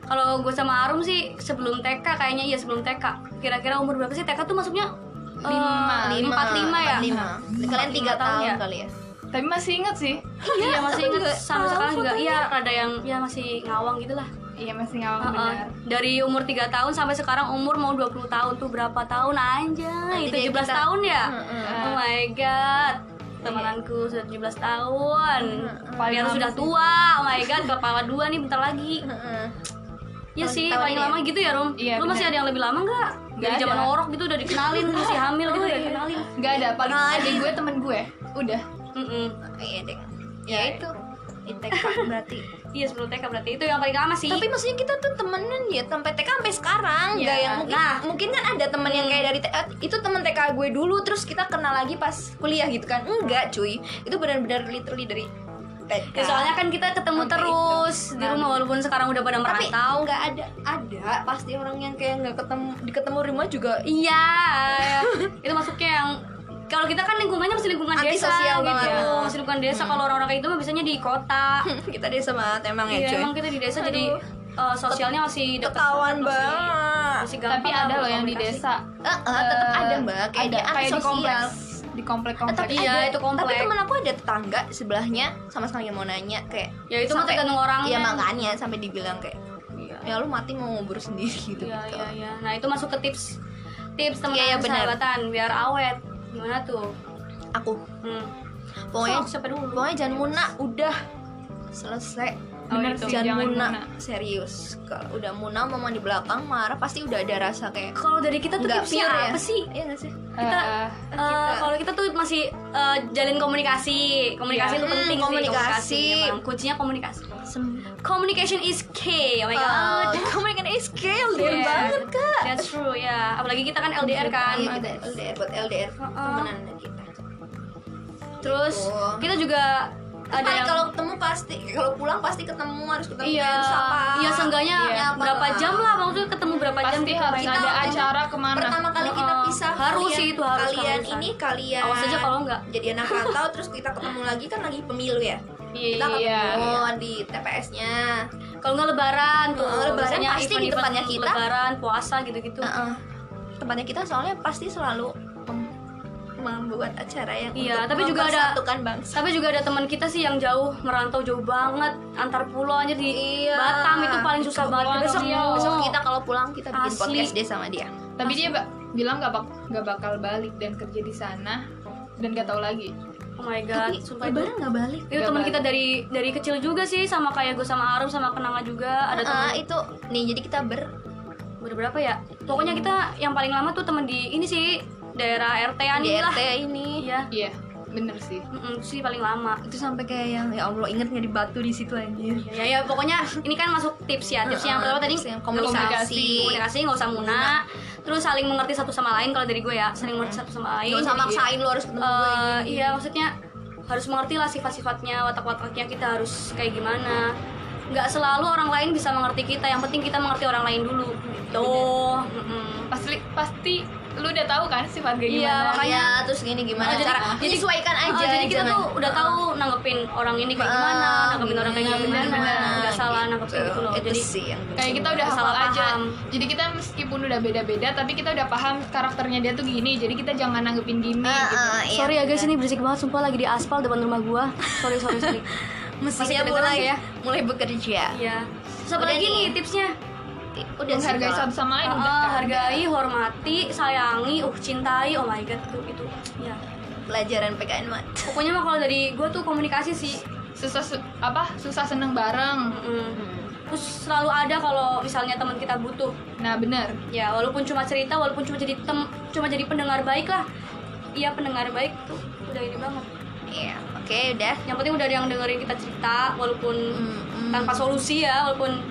S1: kalau gue sama Arum sih sebelum TK kayaknya iya sebelum TK kira-kira umur berapa sih TK tuh masuknya
S3: Lima.
S1: empat lima ya
S2: 45. Kalian
S1: 45 tahun
S2: 3 tahun
S1: ya?
S2: kali ya?
S3: Tapi masih inget sih.
S1: iya masih
S2: aku
S1: inget
S2: juga
S1: sampai
S2: tahu
S1: sekarang juga iya ada yang ya masih ngawang gitu lah
S3: Iya, masih ngawang
S1: Heeh.
S3: benar.
S1: dari umur 3 tahun sampai sekarang umur mau 20 tahun tuh berapa tahun anjay 17
S2: Nanti jadi kita-
S1: tahun ya
S2: Heeh.
S1: oh my god temananku sudah 17 tahun
S3: Paling
S1: Paling
S3: lama
S1: sudah
S3: sih.
S1: tua oh my god kepala dua nih bentar lagi
S2: Heeh.
S1: Iya
S2: Tahun-
S1: sih,
S2: tahun
S1: paling
S2: ini
S1: lama gitu ya, Rom.
S3: Iya,
S1: lu masih
S3: bener.
S1: ada yang lebih lama nggak?
S3: Nggak
S1: Dari zaman
S3: ada.
S1: orok gitu udah dikenalin, masih hamil gitu udah dikenalin.
S3: Gak ada, paling
S2: Nggak ada.
S3: adik gue temen gue. Udah.
S1: Mm-mm.
S2: Iya deh. Ya itu. ITK berarti.
S1: Iya, sebelum TK berarti itu yang paling lama sih.
S2: Tapi maksudnya kita tuh temenan ya sampai TK sampai sekarang,
S3: Iya.
S2: nggak yang mungkin,
S1: Nah.
S2: mungkin kan ada teman yang kayak dari TK itu teman TK gue dulu terus kita kenal lagi pas kuliah gitu kan. Enggak, cuy. Itu benar-benar literally dari
S1: Ya,
S2: TK.
S1: soalnya kan kita ketemu
S2: Sampai
S1: terus di
S2: Nah.
S1: rumah walaupun sekarang udah pada
S2: tapi
S1: merantau.
S2: nggak ada ada pasti orang yang kayak nggak ketemu diketemu di rumah juga
S1: Iya, iya. itu masuknya yang kalau kita kan lingkungannya masih lingkungan desa
S2: Antisosial
S1: gitu,
S2: banget.
S1: masih lingkungan desa. Kalau orang-orang kayak itu mah biasanya di kota.
S2: kita desa banget emang ya,
S1: Iya,
S2: cuy.
S1: emang kita di desa jadi
S2: Aduh.
S1: eh, sosialnya masih deket
S2: ketahuan
S1: masih-
S2: banget.
S1: masih gampang
S3: Tapi
S1: lah
S3: ada loh yang di
S1: berkomunikasi.
S3: desa.
S2: Eh, eh, tetap ada,
S3: Eh,
S2: Mbak.
S3: ada,
S2: Kayaknya
S3: kayak di
S2: antisosial.
S3: kompleks. Eh, Di komplek-komplek.
S2: Tapi
S1: Iya,
S2: ada-
S1: itu komplek.
S2: Tapi teman aku ada tetangga sebelahnya sama sekali nggak mau nanya kayak
S1: Ya, itu mah
S2: sampai-
S1: tergantung kan. orangnya.
S2: Iya makanya sampai dibilang kayak
S1: Iya.
S2: ya lu mati mau ngubur sendiri gitu.
S1: Iya
S2: gitu.
S1: iya iya. Nah itu masuk ke tips tips teman
S2: Iya, iya, benar.
S1: sahabatan biar awet. Gimana tuh?
S2: Aku
S1: Hmm. Sok,
S2: pokoknya
S1: siapa dulu?
S2: pokoknya jangan muna udah selesai.
S1: Oh,
S3: Bener
S1: itu.
S3: sih,
S2: jangan,
S3: jangan
S2: muna.
S3: muna.
S2: serius. Kalau udah muna mama di belakang marah pasti udah ada rasa kayak
S1: Kalau dari kita tuh
S2: nggak
S1: tipsnya
S2: pure ya.
S1: apa sih?
S2: Iya nggak sih?
S1: Kita
S3: Eh,
S1: eh,
S2: kita-
S1: kalau kita tuh masih eh, jalin komunikasi. Komunikasi
S2: Iya.
S1: itu penting
S2: Hmm,
S1: sih,
S2: komunikasi.
S1: Emang kuncinya komunikasi.
S2: Sem-
S1: Communication is key. Oh my
S2: Oh,
S1: god.
S2: Communication is scale
S1: Iya.
S2: banget kak.
S1: That's true ya. Apalagi kita kan LDR kan.
S2: Iya, kita LDR buat LDR
S1: Heeh.
S2: temenan kita.
S1: Terus
S2: Gitu.
S1: kita juga
S2: ada
S1: ada yang
S2: kalau ketemu pasti kalau pulang pasti ketemu harus ketemu
S1: Iya,
S2: harus apa
S1: iya seenggaknya
S2: Iya, apa
S1: berapa
S2: lah.
S1: jam lah maksudnya ketemu berapa jam
S3: pasti
S1: gitu.
S3: harus
S2: Kita
S3: ada
S2: waktu itu
S3: acara kemana.
S2: pertama kali kita
S1: Heeh.
S2: pisah
S1: Harus
S2: kalian-
S1: sih, itu harus,
S2: kalian
S1: kalau
S2: ini kalian
S1: Awas aja kalau enggak.
S2: jadi anak rantau terus kita ketemu lagi kan lagi pemilu ya kita
S3: Iya.
S2: ketemu di TPS-nya
S1: Kalau nggak lebaran tuh,
S2: Heeh, lebaran
S1: biasanya
S2: pasti di
S1: event-event
S2: tempatnya kita.
S1: Lebaran, puasa gitu-gitu.
S2: Heeh. tempatnya kita soalnya pasti selalu mem- membuat acara yang
S1: Iya,
S2: untuk
S1: tapi juga ada-
S2: mempersatukan bangsa
S1: Tapi juga ada teman kita sih yang jauh merantau jauh banget antar pulau aja di
S2: Iya.
S1: Batam itu paling susah banget
S3: Kepulauan
S1: besok
S3: Riau.
S2: besok kita kalau pulang kita bikin
S1: Iya. Asli.
S2: podcast deh sama dia
S3: Tapi dia ba- bilang gak, bak- gak bakal balik dan kerja di sana dan gak tahu lagi.
S1: Oh my god,
S2: Tapi
S1: sumpah itu.
S2: lebaran nggak balik.
S1: Itu teman kita dari dari kecil juga sih sama kayak gue sama Arum sama Kenanga juga ada teman
S2: Ah, itu nih jadi kita ber
S1: berapa ya? Pokoknya kita yang paling lama tuh temen di ini sih daerah RT-an Kan lah.
S2: GRT ini.
S1: Iya.
S3: Iya, bener sih.
S1: Mm-mm, itu sih paling lama.
S2: Itu sampai kayak yang ya Allah inget nggak di batu di situ anjir.
S1: Ya, ya pokoknya ini kan masuk tips ya. Tips yang
S2: Heeh,
S1: pertama tadi
S2: tips yang
S1: komunikasi,
S2: komunikasi.
S1: komunikasi nggak usah
S2: Iya.
S1: muna. Terus saling mengerti satu sama lain kalau dari gue ya, saling mengerti satu sama lain.
S2: Gak usah
S1: Jadi,
S2: maksain lu harus ketemu gue.
S1: eh, iya maksudnya harus mengerti lah sifat-sifatnya, watak-wataknya kita harus kayak gimana. Nggak selalu orang lain bisa mengerti kita. Yang penting kita mengerti orang lain dulu. Gitu. Mm-mm.
S3: Pasti pasti lu udah tahu kan sifat kayak
S1: Iya,
S3: gimana.
S1: makanya-
S2: Ya, terus gini gimana
S1: Oh, jadi-
S2: cara
S1: jadi-
S2: menyesuaikan aja.
S1: Ah, jadi kita
S2: jangan-
S1: tuh udah tahu nanggepin orang ini kayak gimana,
S2: Ah,
S1: nanggepin orang kayak
S2: gimana,
S1: gimana,
S2: gimana,
S1: nggak salah
S2: gitu.
S1: nangkep gitu loh.
S2: Itu
S1: Jadi gitu.
S2: sih yang
S3: kayak kita udah
S1: Salah
S3: hafal aja
S1: paham.
S3: jadi kita meskipun udah beda-beda tapi kita udah paham karakternya dia tuh gini jadi kita jangan nanggepin gini
S2: Ah,
S3: gitu
S2: ah, iya.
S1: sorry ya guys, ini berisik banget sumpah lagi di aspal depan rumah gua. Sorry sorry sorry.
S2: Mestinya
S1: kedengeran
S2: mulai
S1: nggak ya?
S2: mulai bekerja.
S1: Iya. Terus apa
S2: Udah
S1: lagi
S2: nih.
S1: nih tipsnya?
S2: Udah sih,
S3: menghargai
S2: Kak.
S3: satu sama lain
S1: Ah,
S3: udah
S1: ah,
S3: kan?
S1: hargai, hormati, sayangi, uh cintai. Oh my god, itu itu. Ya.
S2: pelajaran PKN mat.
S1: Pokoknya mah kalau dari gua tuh komunikasi sih.
S3: susah su- apa susah seneng bareng
S1: Mm. Terus selalu ada kalau misalnya teman kita butuh.
S3: nah bener
S1: Ya, walaupun cuma cerita, walaupun cuma jadi tem cuma jadi pendengar baik lah. Iya, pendengar baik tuh udah ini banget.
S2: Iya, oke udah.
S1: yang penting udah ada yang dengerin kita cerita walaupun
S2: Mm, mm.
S1: tanpa solusi ya walaupun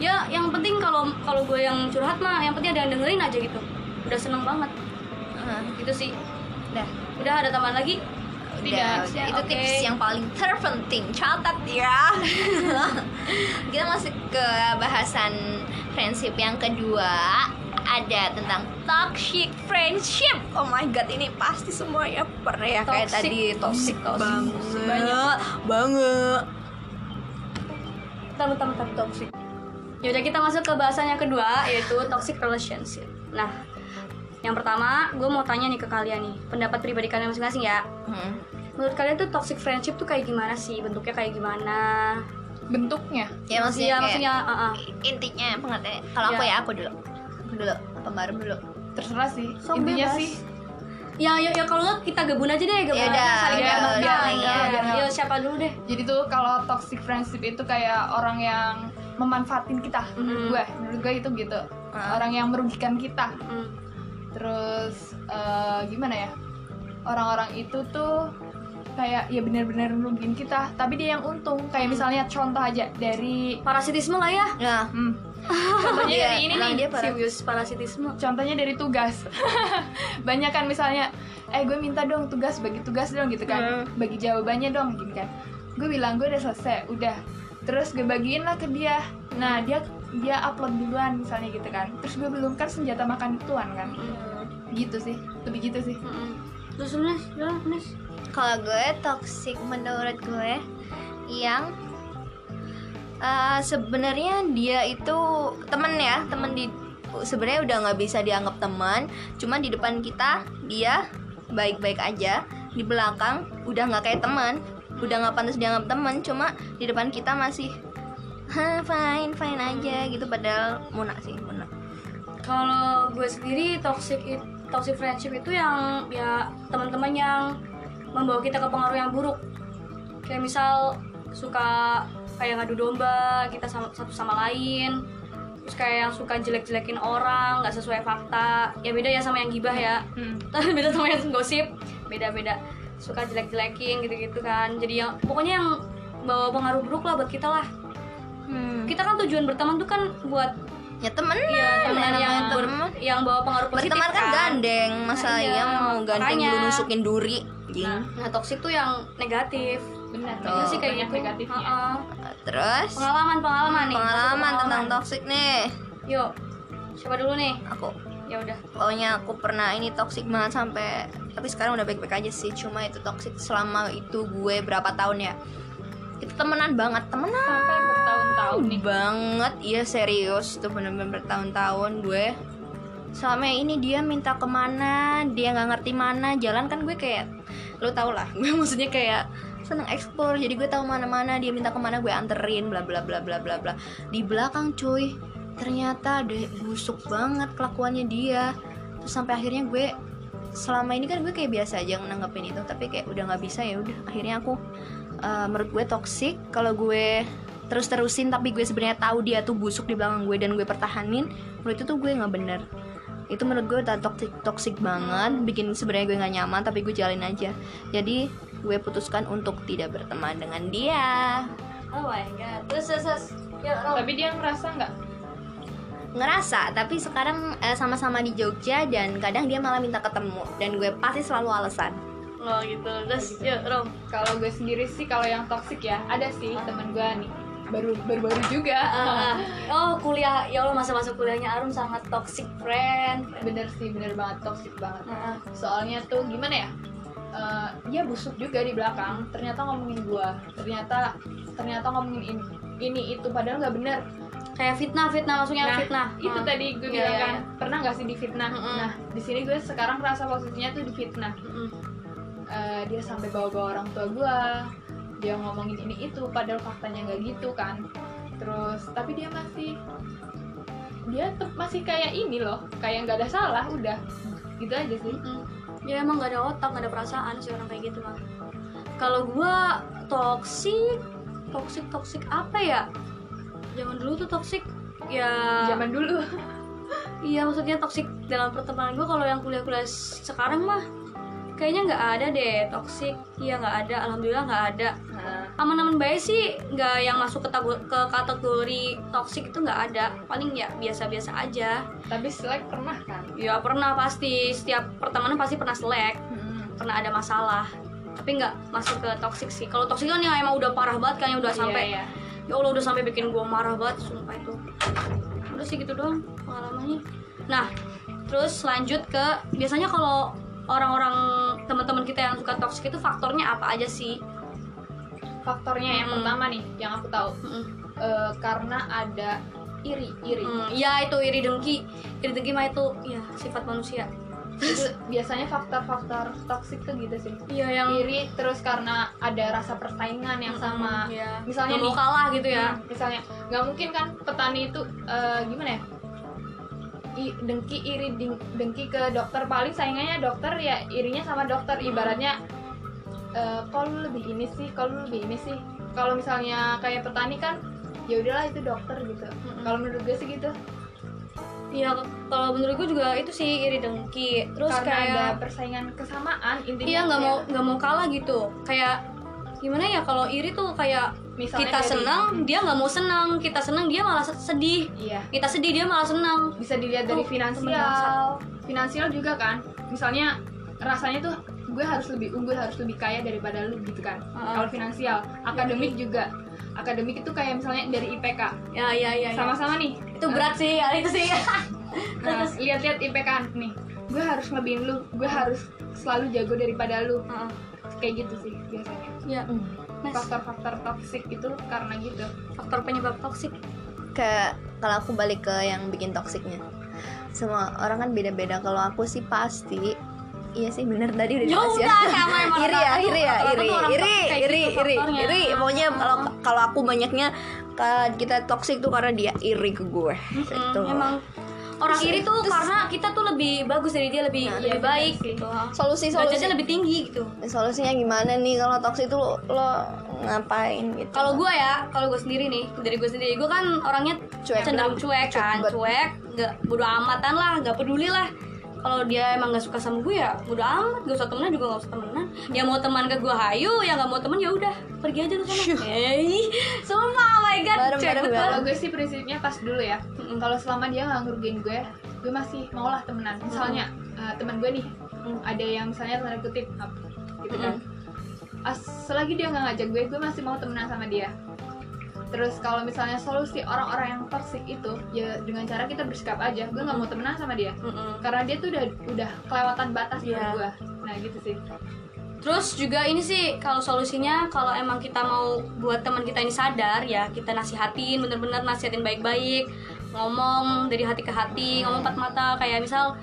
S1: ya yang penting kalau kalau gue yang curhat mah yang penting ada yang dengerin aja gitu udah seneng banget
S2: Ah,
S1: gitu sih
S2: Udah.
S1: udah ada tambahan lagi
S3: Tidak.
S2: Udah, itu
S1: Oke.
S2: tips yang paling terpenting catat ya kita masuk ke bahasan friendship yang kedua ada tentang toxic friendship oh my god ini pasti semua ya pernah ya kayak
S1: Toxic.
S2: tadi toxic,
S1: Toxic.
S2: banget
S1: Banyak.
S2: banget
S1: terutama tentang toxic ya udah kita masuk ke bahasan yang kedua yaitu toxic relationship nah yang pertama gue mau tanya nih ke kalian nih pendapat pribadi kalian masing-masing ya
S2: Hmm.
S1: menurut kalian tuh toxic friendship tuh kayak gimana sih bentuknya kayak gimana
S3: bentuknya
S2: ya maksudnya,
S1: Iya,
S2: kayak
S1: maksudnya ah, ah.
S2: intinya pengertian kalau aku
S1: Iya.
S2: ya aku dulu aku dulu apa baru dulu
S3: terserah sih
S1: Sok
S3: intinya
S1: bebas.
S3: sih
S1: Ya, ya, ya kalau nggak kita gabun aja deh, gabun
S2: Ya
S1: aja
S2: udah,
S1: saling
S3: ya,
S1: gabung.
S3: ya,
S1: Ya,
S3: ya,
S1: ya,
S3: ya.
S1: ya, siapa dulu deh?
S3: jadi tuh kalau toxic friendship itu kayak orang yang memanfaatin kita menurut
S1: Mm.
S3: gue menurut gue itu gitu
S1: Ah.
S3: orang yang merugikan kita
S1: Hmm.
S3: terus eh, gimana ya orang-orang itu tuh kayak ya benar-benar rugiin kita tapi dia yang untung
S1: Mm-hmm.
S3: kayak misalnya contoh aja dari
S1: Parasitisme lah ya.
S2: nah
S3: hmm, contohnya
S2: Iya,
S3: dari ini
S2: bilang
S3: nih
S2: dia parah.
S1: Serius parasitisme.
S3: contohnya dari tugas banyak kan misalnya eh gue minta dong tugas bagi tugas dong gitu kan bagi jawabannya dong gitu kan gue bilang gue udah selesai udah terus gue bagiin lah ke dia nah dia dia upload duluan misalnya gitu kan terus gue belum kan senjata makan tuan kan gitu sih lebih gitu sih
S1: Mm-mm. Hmm, Terus Nes, ya, Nes.
S2: kalau gue toxic menurut gue yang eh, sebenarnya dia itu temen ya temen di sebenarnya udah nggak bisa dianggap teman cuman di depan kita dia baik-baik aja di belakang udah nggak kayak teman udah nggak pantas dianggap teman cuma di depan kita masih Hah, fine fine aja gitu padahal muna sih muna
S1: Kalau gue sendiri toxic it- toxic friendship itu yang ya teman-teman yang membawa kita ke pengaruh yang buruk. Kayak misal suka kayak ngadu domba kita sama satu sama lain. Terus kayak yang suka jelek-jelekin orang, nggak sesuai fakta. Ya beda ya sama yang gibah ya.
S3: Hmm,
S1: tapi beda sama yang gosip beda-beda suka jelek-jelekin gitu-gitu kan jadi yang pokoknya yang bawa pengaruh buruk lah buat kita lah
S2: hmm.
S1: kita kan tujuan berteman tuh kan buat
S2: ya temen
S1: ya teman yang ber- yang bawa pengaruh positif
S2: Berteman kan gandeng, masa
S1: Nah, iya,
S2: iya, mau gandeng
S1: makanya.
S2: lu nusukin duri. Jing.
S1: nah toksik tuh yang negatif
S3: benar
S1: Iya
S2: Oh,
S1: sih kayak
S3: banyak
S1: gitu
S3: negatifnya.
S1: Ha-ha.
S2: Terus
S1: pengalaman pengalaman nih
S2: pengalaman tentang
S1: toksik
S2: toxic nih.
S1: yuk coba dulu nih
S2: Aku
S1: ya udah
S2: pokoknya aku pernah ini toxic banget sampai tapi sekarang udah baik-baik aja sih. Cuma itu toxic selama itu gue berapa tahun ya. Itu temenan banget, temenan
S3: sampai bertahun-tahun nih
S2: banget. Iya serius, itu bener-bener bertahun-tahun gue selama ini dia minta kemana dia nggak ngerti mana jalan kan gue kayak lo tau lah gue maksudnya kayak seneng explore jadi gue tahu mana-mana dia minta kemana gue anterin bla bla bla bla bla bla di belakang cuy ternyata deh busuk banget kelakuannya dia terus sampai akhirnya gue selama ini kan gue kayak biasa aja nanggepin itu tapi kayak udah nggak bisa ya udah akhirnya aku eh, menurut gue toxic kalau gue terus terusin tapi gue sebenarnya tahu dia tuh busuk di belakang gue dan gue pertahanin menurut itu tuh gue nggak bener itu menurut gue udah toxic toxic banget bikin sebenarnya gue nggak nyaman tapi gue jalin aja jadi gue putuskan untuk tidak berteman dengan dia
S1: Oh my god. Terus terus, terus. Ya, Rom.
S3: tapi dia ngerasa nggak
S2: ngerasa tapi sekarang eh, sama-sama di Jogja dan kadang dia malah minta ketemu dan gue pasti selalu alasan
S1: Oh gitu. Terus yuk Rom.
S3: kalau gue sendiri sih kalau yang toksik ya ada sih temen gue nih baru baru baru juga
S1: Ah, ah. oh kuliah ya Allah masa-masa kuliahnya Arum sangat toxic friend.
S3: bener sih bener banget toksik banget
S1: Ah, ah.
S3: soalnya tuh gimana ya Eh, dia busuk juga di belakang ternyata ngomongin gua ternyata ternyata ngomongin ini, ini itu padahal nggak bener
S1: Kayak fitnah fitnah maksudnya
S3: Nah,
S1: fitnah.
S3: itu
S1: Ah.
S3: tadi gue
S1: Iya,
S3: bilang
S1: iya,
S3: kan
S1: iya.
S3: pernah nggak sih difitnah
S1: Mm-mm.
S3: nah di sini gue sekarang rasa posisinya tuh difitnah
S1: Mm-mm.
S3: Eh, dia sampai bawa-bawa orang tua gue dia ngomongin ini itu padahal faktanya nggak gitu kan terus tapi dia masih dia tuh masih kayak ini loh kayak nggak ada salah udah gitu aja sih
S1: Mm-mm. Dia Ya, emang gak ada otak, gak ada perasaan sih orang kayak gitu kan. Kalau gua toxic, toxic toxic apa ya? Zaman dulu tuh toxic ya
S3: zaman dulu
S1: Iya maksudnya toksik dalam pertemanan gue kalau yang kuliah-kuliah sekarang mah kayaknya nggak ada deh toksik iya nggak ada alhamdulillah nggak ada Ah.
S3: Nah,
S1: aman-aman baik sih nggak yang masuk ke, tago- ke kategori toksik itu nggak ada paling ya biasa-biasa aja
S3: tapi selek pernah kan
S1: ya pernah pasti setiap pertemanan pasti pernah selek pernah ada masalah tapi nggak masuk ke toksik sih kalau toksik kan yang emang udah parah banget kan yang udah sampai
S3: Iya, iya.
S1: ya Allah udah sampai bikin gua marah banget sumpah itu udah sih gitu doang pengalamannya nah terus lanjut ke biasanya kalau orang-orang teman-teman kita yang suka toxic itu faktornya apa aja sih
S3: faktornya yang
S1: Mm.
S3: pertama nih yang aku tahu
S1: Mm-mm.
S3: eh, karena ada iri iri
S1: Mm, ya itu iri dengki iri dengki mah itu ya sifat manusia
S3: itu biasanya faktor-faktor toksik tuh gitu sih
S1: iya yang
S3: iri terus karena ada rasa persaingan yang sama
S1: ya.
S3: misalnya
S1: mau
S3: nih
S1: kalah gitu ya
S3: ya misalnya nggak mungkin kan petani itu eh, gimana ya I- dengki iri ding- dengki ke dokter paling saingannya dokter ya irinya sama dokter ibaratnya eh kalau lu lebih ini sih kalau lu lebih ini sih kalau misalnya kayak petani kan ya udahlah itu dokter gitu kalau menurut gue sih gitu
S1: iya kalau menurut gue juga itu sih iri dengki terus
S3: karena ada
S1: kayak
S3: persaingan kesamaan intinya
S1: iya nggak
S3: kayak
S1: mau nggak mau kalah gitu kayak gimana ya kalau iri tuh kayak gitu.
S3: misalnya
S1: kita
S3: dari-
S1: senang dia nggak mau senang kita senang dia malah sedih
S3: iya
S1: kita sedih dia malah senang
S3: bisa dilihat dari
S1: Tuh, temen
S3: finansial
S1: dasar.
S3: finansial juga kan misalnya rasanya tuh gue harus lebih unggul harus lebih kaya daripada lu gitu kan
S1: Ah.
S3: kalau finansial akademik juga akademik itu kayak misalnya dari IPK
S1: ya ya ya, ya.
S3: sama-sama nih
S1: itu berat sih hal itu sih
S3: Nah, lihat-lihat IPK nih gue harus ngebikin lu gue harus selalu jago daripada lu
S1: Heeh.
S3: kayak gitu sih biasanya
S1: ya Mas,
S3: faktor-faktor toksik itu karena gitu
S1: faktor penyebab toksik
S2: ke kalau aku balik ke yang bikin toksiknya semua orang kan beda-beda kalau aku sih pasti iya sih bener tadi udah
S1: Ya
S2: dibahas
S1: udah, sama emang rata-rata tuh-
S2: iri ya iri ya
S1: rata-rata
S2: iri
S1: tuh orang
S2: iri
S1: kayak
S2: iri
S1: gitu
S2: iri
S1: faktornya.
S2: iri pokoknya kalau kalau aku banyaknya ka- kita toksik tuh karena dia iri ke gue gitu.
S1: Mm, emang orang iri tuh karena kita tuh lebih bagus dari dia lebih lebih baik gitu
S2: solusi
S1: derajatnya
S2: solusi
S1: lebih tinggi gitu
S2: solusinya gimana nih kalau toksik tuh lo, lo ngapain gitu
S1: kalau gue ya kalau gue sendiri nih dari gue sendiri gue kan orangnya
S2: Cuek.
S1: cenderung cuek kan
S2: banget.
S1: cuek nggak bodo amatan lah nggak peduli lah kalau dia emang nggak suka sama gue ya bodo amat gak usah temenan juga gak usah temenan dia mau teman ke gue hayu ya nggak mau teman ya udah pergi aja lu sana hey sumpah oh my god
S2: Bareng,
S1: cuek
S2: bareng,
S1: betul.
S3: kalau gue sih prinsipnya pas dulu ya
S1: Mm-mm.
S3: kalau selama dia nggak ngerugiin gue gue masih maulah temenan misalnya eh, teman gue nih ada yang misalnya tanda kutip up, gitu kan As, selagi dia nggak ngajak gue gue masih mau temenan sama dia terus kalau misalnya solusi orang-orang yang toxic itu ya dengan cara kita bersikap aja gue nggak mau temenan sama dia
S1: Mm-mm.
S3: karena dia tuh udah udah kelewatan batas
S1: Iya.
S3: menurut gue nah gitu sih
S1: Terus juga ini sih kalau solusinya kalau emang kita mau buat teman kita ini sadar ya kita nasihatin bener-bener nasihatin baik-baik ngomong dari hati ke hati ngomong empat mata kayak misal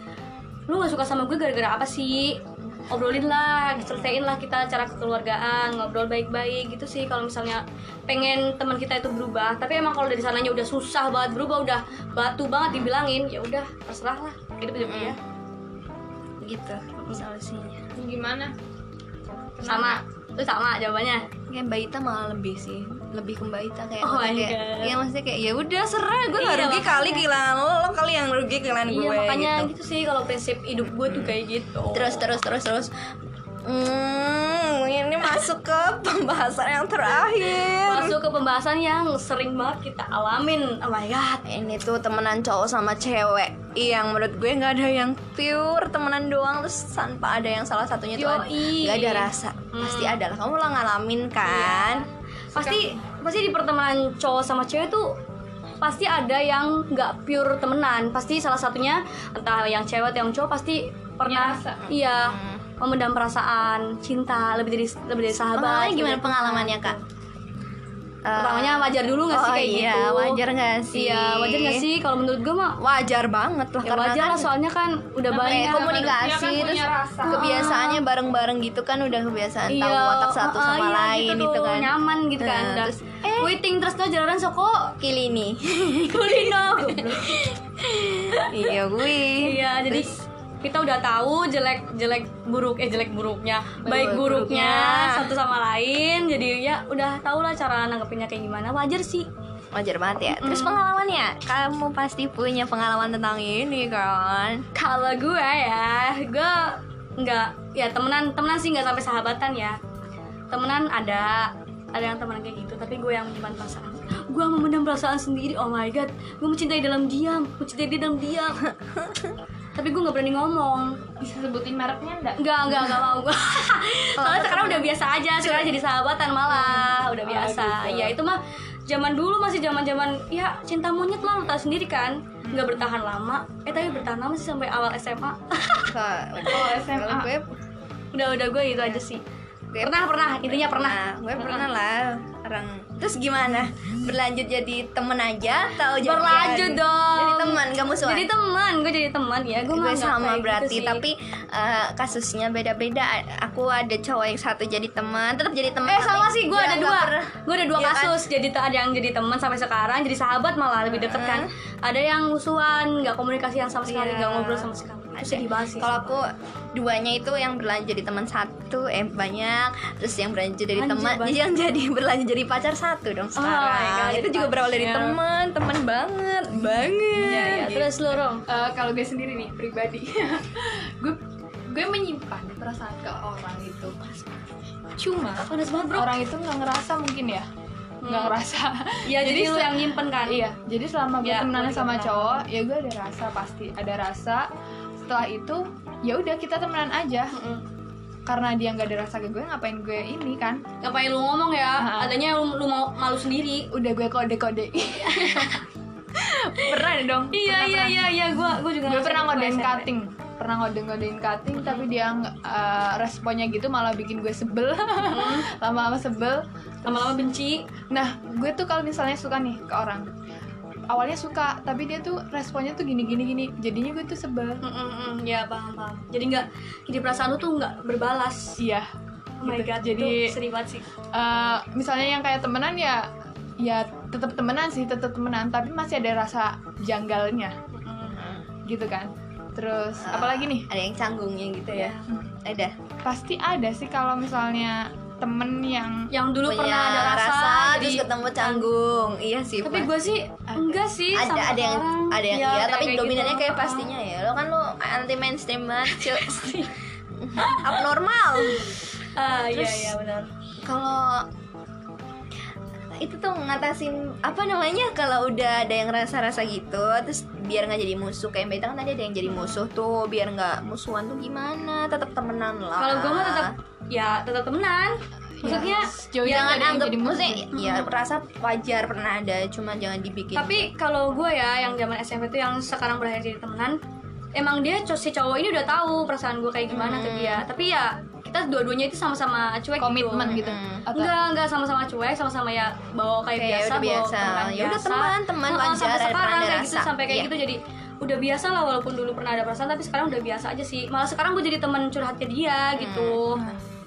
S1: lu gak suka sama gue gara-gara apa sih obrolin lah ceritain lah kita cara kekeluargaan ngobrol baik-baik gitu sih kalau misalnya pengen teman kita itu berubah tapi emang kalau dari sananya udah susah
S2: Hmm.
S1: banget berubah udah batu banget dibilangin ya udah terserah lah hidup hidup dia
S2: gitu solusinya
S3: Gimana?
S1: Sama, itu sama jawabannya.
S2: kayak Mbak Ita malah lebih sih lebih ke Mbak Ita kayak
S1: Oh my
S2: kayak
S1: God.
S2: ya maksudnya kayak ya udah serah gue nggak
S1: Iya,
S2: rugi kali kehilangan lo lo kali yang rugi kehilangan
S1: Iya,
S2: gue
S1: makanya
S2: gitu.
S1: gitu. sih kalau prinsip hidup gue tuh kayak gitu.
S2: terus terus terus terus hmm, ini masuk ke pembahasan yang terakhir
S1: masuk ke pembahasan yang sering banget kita alamin. Oh my god.
S2: ini tuh temenan cowok sama cewek yang menurut gue nggak ada yang pure temenan doang terus tanpa ada yang salah satunya tuh ada-
S1: Yoi.
S2: nggak ada rasa pasti ada lah kamu lah ngalamin kan
S1: Pasti pasti di pertemanan cowok sama cewek tuh pasti ada yang nggak pure temenan. Pasti salah satunya entah yang cewek atau yang cowok pasti pernah
S3: rasa.
S1: iya
S2: Hmm.
S1: memendam perasaan cinta lebih dari lebih dari sahabat.
S2: pengalaman gimana
S1: lebih-
S2: pengalamannya kak
S1: Pertamanya wajar dulu nggak sih
S2: oh
S1: kayak
S2: iya,
S1: gitu?
S2: wajar nggak sih?
S1: Iya, wajar nggak sih? Kalau menurut gue mah
S2: Eh, wajar banget lah
S1: ya
S2: karena
S1: wajar lah
S2: kan
S1: soalnya kan udah
S2: kayak
S1: banyak
S2: komunikasi
S3: manusia kan
S2: terus
S3: punya rasa.
S2: kebiasaannya bareng-bareng gitu kan udah kebiasaan tahu watak satu
S1: uh-uh,
S2: sama
S1: iya,
S2: lain
S1: gitu,
S2: gitu,
S1: tuh,
S2: kan
S1: nyaman gitu kan
S2: Nah,
S1: dan
S2: terus,
S1: waiting terus tuh jalanan soko
S2: kilini
S1: kulino
S2: iya gue
S1: iya jadi kita udah tahu jelek jelek buruk eh jelek buruknya baik buruknya
S2: buruknya.
S1: satu sama lain jadi ya udah tau lah cara nanggepinnya kayak gimana wajar sih
S2: wajar banget ya terus pengalamannya kamu pasti punya pengalaman tentang ini kan
S1: kalau gue ya gue nggak ya temenan temenan sih nggak sampai sahabatan ya temenan ada ada yang temenan kayak gitu tapi gue yang menyimpan perasaan gue memendam perasaan sendiri oh my god gue mencintai dalam diam mencintai dia dalam diam tapi gue nggak berani ngomong
S3: Bisa sebutin mereknya enggak?
S1: nggak nggak nggak mau gue soalnya sekarang udah biasa aja sekarang jadi sahabatan malah udah biasa ya itu mah zaman dulu masih zaman zaman ya cinta monyet lah lo tau sendiri kan nggak bertahan lama eh tapi bertahan lama sih sampai awal SMA
S3: Oh, SMA.
S2: kalau gue
S1: udah udah gue itu gitu
S2: Iya.
S1: aja sih
S2: Gue-
S1: pernah pernah intinya pernah
S2: pernah Nah, gue pernah lah orang terus gimana berlanjut jadi temen aja atau jadi
S1: berlanjut dong
S2: jadi teman kamu suka
S1: jadi teman gue jadi teman ya gue mah nggak
S2: gue
S1: kayak
S2: sama
S1: gitu
S2: berarti
S1: sih.
S2: tapi eh, kasusnya beda-beda aku ada cowok yang satu jadi teman tetap jadi teman
S1: eh
S2: tapi
S1: sama sih gue
S2: nggak-
S1: ada
S2: Iya, nggak
S1: dua
S2: pernah.
S1: gue ada dua
S2: Iya kan?
S1: kasus jadi te- ada yang jadi teman sampai sekarang jadi sahabat malah lebih deket kan ada yang musuhan nggak komunikasi yang sama sekali
S2: Iya.
S1: nggak ngobrol sama sekali itu sedih banget sih
S2: kalau aku duanya itu yang berlanjut jadi teman satu eh banyak terus yang berlanjut dari
S1: Anjir,
S2: teman
S1: banyak.
S2: yang jadi berlanjut jadi pacar satu dong
S1: Oh my God,
S2: sekarang
S1: jadi
S2: itu juga berawal dari
S1: pacar.
S2: teman teman banget banget Gitu.
S1: Iya, iya. terus lu Rom
S3: Eh, kalau gue sendiri nih pribadi gue gue menyimpan perasaan ke orang itu cuma
S1: panas banget bro
S3: orang itu nggak ngerasa mungkin ya nggak
S1: Hmm.
S3: ngerasa
S1: ya jadi, lu
S3: se-
S1: yang nyimpen kan
S3: iya jadi selama gue
S1: Ya,
S3: temenan
S1: gue
S3: sama
S1: juga
S3: cowok ya gue ada rasa pasti ada rasa setelah itu ya udah kita temenan aja
S1: Mm-mm.
S3: karena dia nggak ada rasa ke gue ngapain gue ini kan
S1: ngapain lu ngomong ya
S3: Ha-ha.
S1: adanya lu, lu mau malu sendiri
S3: udah gue kode kode pernah dong
S1: iya iya iya iya gue gue juga
S3: gue
S1: ngerasa
S3: pernah
S1: gitu,
S3: ngodein
S1: SMP.
S3: cutting pernah ngodein ngodein cutting tapi dia nggak- eh, responnya gitu malah bikin gue sebel lama-lama sebel
S1: lama-lama benci
S3: nah gue tuh kalau misalnya suka nih ke orang awalnya suka tapi dia tuh responnya tuh gini gini gini jadinya gue tuh sebel
S1: Mm, mm, mm. ya paham paham jadi nggak jadi perasaan lu tuh nggak berbalas
S3: iya
S1: oh my
S3: gitu.
S1: god
S3: Jadi-
S1: itu sering banget sih
S3: Eh, misalnya yang kayak temenan ya ya tetap temenan sih tetap temenan tapi masih ada rasa janggalnya
S1: Mm.
S3: gitu kan terus
S2: Ah.
S3: apalagi nih
S2: Eh, ada yang canggungnya gitu
S1: Iya.
S2: ya ada
S3: pasti ada sih kalau misalnya temen yang
S1: yang dulu
S2: Punya
S1: pernah ada rasa,
S2: Oh iya, terus
S1: jadi-
S2: ketemu canggung iya sih
S1: tapi
S2: Pak.
S1: gue sih enggak sih Iya,
S2: ada
S1: sama
S2: ada yang
S1: orang.
S2: ada yang iya tapi
S1: kayak
S2: dominannya
S1: gitu.
S2: kayak pastinya ya lo kan lo anti mainstream banget cuy. abnormal
S1: ah iya iya benar
S2: kalau itu tuh ngatasin apa namanya kalau udah ada yang rasa-rasa gitu terus biar nggak jadi musuh kayak mbak Ita kan tadi ada yang jadi musuh tuh biar nggak musuhan tuh gimana tetap temenan lah
S1: kalau gue mah tetap ya tetap temenan
S2: Iya.
S1: maksudnya
S2: Gitu.
S3: sejauh ini
S2: jangan
S3: nggak ada yang
S2: anggap
S3: jadi musuh.
S2: maksudnya ya rasa wajar pernah ada cuma jangan dibikin
S1: tapi kalau gue ya yang zaman SMP itu yang sekarang berakhir jadi temenan emang dia co- si cowok ini udah tahu perasaan gue kayak gimana
S2: Hmm.
S1: ke dia tapi ya kita dua-duanya itu sama-sama cuek
S3: komitmen
S1: gitu.
S3: gitu
S2: Mm.
S3: atau
S1: Enggak, enggak sama-sama cuek, sama-sama ya bawa kayak
S2: Kayak
S1: biasa,
S2: udah
S1: bawa
S2: biasa.
S1: teman
S2: Ya udah
S1: biasa.
S2: teman, teman
S1: Heeh,
S2: wajar,
S1: sampai
S2: ada
S1: sekarang
S2: pernah
S1: kayak
S2: ada
S1: gitu,
S2: rasa.
S1: sampai kayak
S2: Iya.
S1: gitu jadi udah biasa lah walaupun dulu pernah ada perasaan tapi sekarang udah biasa aja sih. Malah sekarang gue jadi teman curhatnya dia gitu.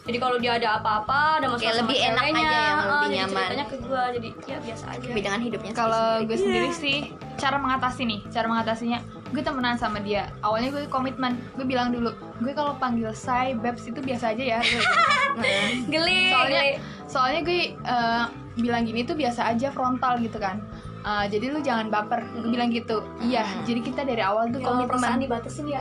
S1: Jadi kalau dia ada apa-apa, ada masalah
S2: Hmm. Kayak lebih
S1: sama
S2: enak aja
S1: ceweknya,
S2: yang
S1: heeh,
S2: lebih
S1: jadi
S2: nyaman.
S1: ceritanya ke gue jadi ya biasa aja.
S2: bidangan hidupnya
S3: kalau
S2: sendiri-sendiri.
S3: gue sendiri sih cara mengatasi nih cara mengatasinya gue temenan sama dia awalnya gue komitmen gue bilang dulu gue kalau panggil say babes itu biasa aja ya Gue gitu.
S2: Nah,
S1: Geli, Ya
S3: soalnya
S1: geli.
S3: soalnya gue eh, bilang gini tuh biasa aja frontal gitu kan Eh, jadi lu jangan baper gue bilang gitu iya jadi kita dari awal tuh
S1: Kalau perasaan
S3: komitmen
S1: dibatasin ya.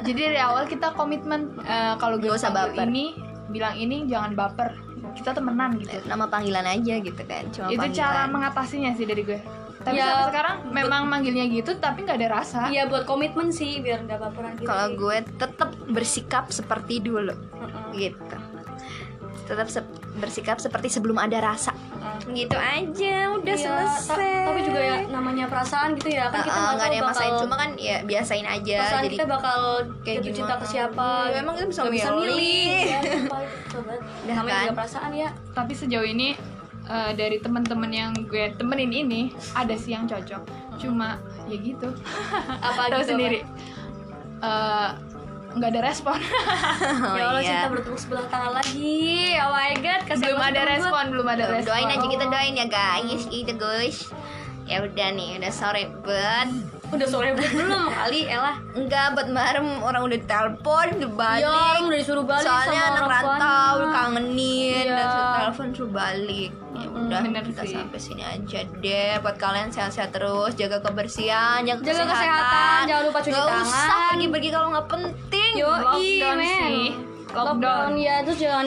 S3: jadi dari awal kita komitmen eh, kalau gue
S2: Nggak usah
S3: panggil
S2: baper.
S3: ini bilang ini jangan baper kita temenan gitu
S2: nama panggilan aja gitu kan cuma
S3: itu
S2: panggilan.
S3: cara mengatasinya sih dari gue tapi
S1: Ya,
S3: sampai sekarang memang manggilnya gitu tapi nggak ada rasa
S1: Iya buat komitmen sih biar nggak baperan gitu.
S2: kalau gue tetap bersikap seperti dulu
S1: Mm-mm.
S2: gitu tetap se- bersikap seperti sebelum ada rasa
S1: Mm-mm.
S2: gitu aja udah
S1: Iya, ta-
S2: selesai
S1: tapi juga ya namanya perasaan gitu ya kan kita nggak
S2: Ah, ah, nggak
S1: tahu
S2: ada yang
S1: bakal
S2: masain cuma kan ya biasain aja
S1: perasaan
S2: jadi
S1: kita bakal
S2: kayak
S1: jatuh cinta
S2: gimana.
S1: ke siapa.
S2: Ya, emang kita bisa
S1: Nggak
S2: milih.
S1: Ya, sumpah, itu betul banget.
S2: Dah,
S1: namanya
S2: kan?
S1: juga perasaan ya.
S3: tapi sejauh ini eh, dari teman-teman yang gue temenin ini ada sih yang cocok cuma ya gitu
S1: Apa
S3: tahu
S1: gitu,
S3: sendiri Eh, nggak ada respon
S2: Oh,
S1: ya Allah
S2: iya.
S1: cinta bertepuk sebelah tangan lagi. Oh my god, kasihan
S3: belum
S1: banget
S3: ada
S1: temen gue.
S3: respon belum ada respon
S2: doain aja kita doain ya guys gitu guys ya udah nih udah sore bet
S1: Udah sore belum kali, elah.
S2: enggak bet marem orang udah telepon Iya, udah balik
S1: Ya, orang udah disuruh balik
S2: soalnya
S1: sama
S2: anak
S1: orang
S2: rantau
S1: tuanya.
S2: kangenin
S1: Iya. Hmm,
S2: dan suruh telepon suruh balik ya udah
S3: bener
S2: kita
S3: sih.
S2: sampai sini aja deh buat kalian sehat-sehat terus jaga kebersihan jaga,
S1: Jaga
S2: kesehatan.
S1: kesehatan, jangan lupa cuci
S2: Nggak usah
S1: tangan.
S2: pergi-pergi kalau nggak penting
S1: Yo,
S3: Lockdown sih.
S1: Lockdown.
S3: Lockdown.
S1: ya terus jangan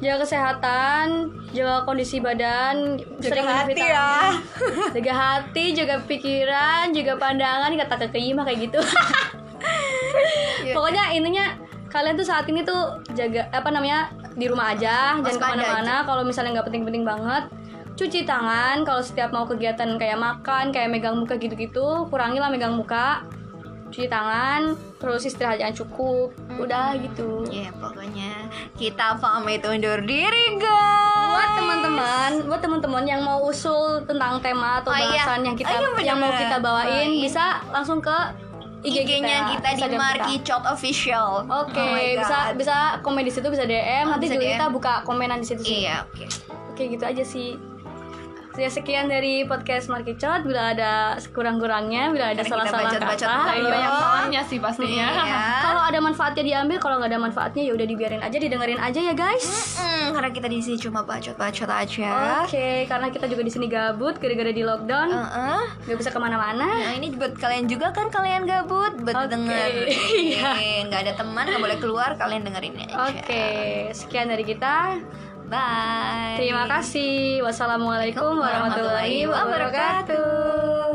S1: jaga kesehatan, jaga kondisi badan, sering minum
S2: hati
S1: vitamin.
S2: ya.
S1: Jaga hati, jaga pikiran, jaga pandangan kata kakek mah kayak gitu.
S2: Iya.
S1: Pokoknya intinya kalian tuh saat ini tuh jaga apa namanya di rumah aja, jangan
S2: Waspada
S1: kemana-mana. Kalau misalnya nggak penting-penting banget, cuci tangan. Kalau setiap mau kegiatan kayak makan, kayak megang muka gitu-gitu, kurangilah megang muka. Cuci tangan, terus istirahat yang cukup. Udah gitu.
S2: ya pokoknya kita pamit undur diri guys
S1: buat teman-teman buat teman-teman yang mau usul tentang tema atau
S2: Oh, iya.
S1: bahasan yang kita
S2: Oh, iya, bener.
S1: yang mau kita bawain
S2: Oh, iya.
S1: bisa langsung ke IG
S2: IG-nya kita, di
S1: Instagram
S2: Markicot Official.
S1: Oke,
S2: Oh my
S1: bisa
S2: God.
S1: bisa komen di situ bisa DM,
S2: Oh,
S1: nanti
S2: bisa
S1: juga
S2: DM.
S1: kita buka komenan di situ sih.
S2: Iya, oke.
S1: Oke, gitu aja sih. Ya sekian dari podcast Markicot. Bila ada kurang-kurangnya, bila ada
S2: Karena kita
S1: salah-salah kata, iya.
S2: bacot-bacot ya.
S3: Tapi
S2: mulu.
S3: banyak salahnya sih pastinya
S2: Iya.
S1: kalau ada manfaatnya diambil, kalau nggak ada manfaatnya ya udah dibiarin aja, didengerin aja ya guys.
S2: Mm, karena kita di sini cuma bacot-bacot aja.
S1: Oke, karena kita juga di sini gabut gara-gara di lockdown,
S2: Heeh.
S1: nggak bisa kemana-mana.
S2: Nah ini buat kalian juga kan kalian gabut, buat
S1: Oke. Iya.
S2: dengerin. Gak ada teman, gak boleh keluar, kalian dengerin aja.
S1: Oke, sekian dari kita.
S2: Bye.
S1: Terima kasih. Wassalamualaikum warahmatullahi wabarakatuh.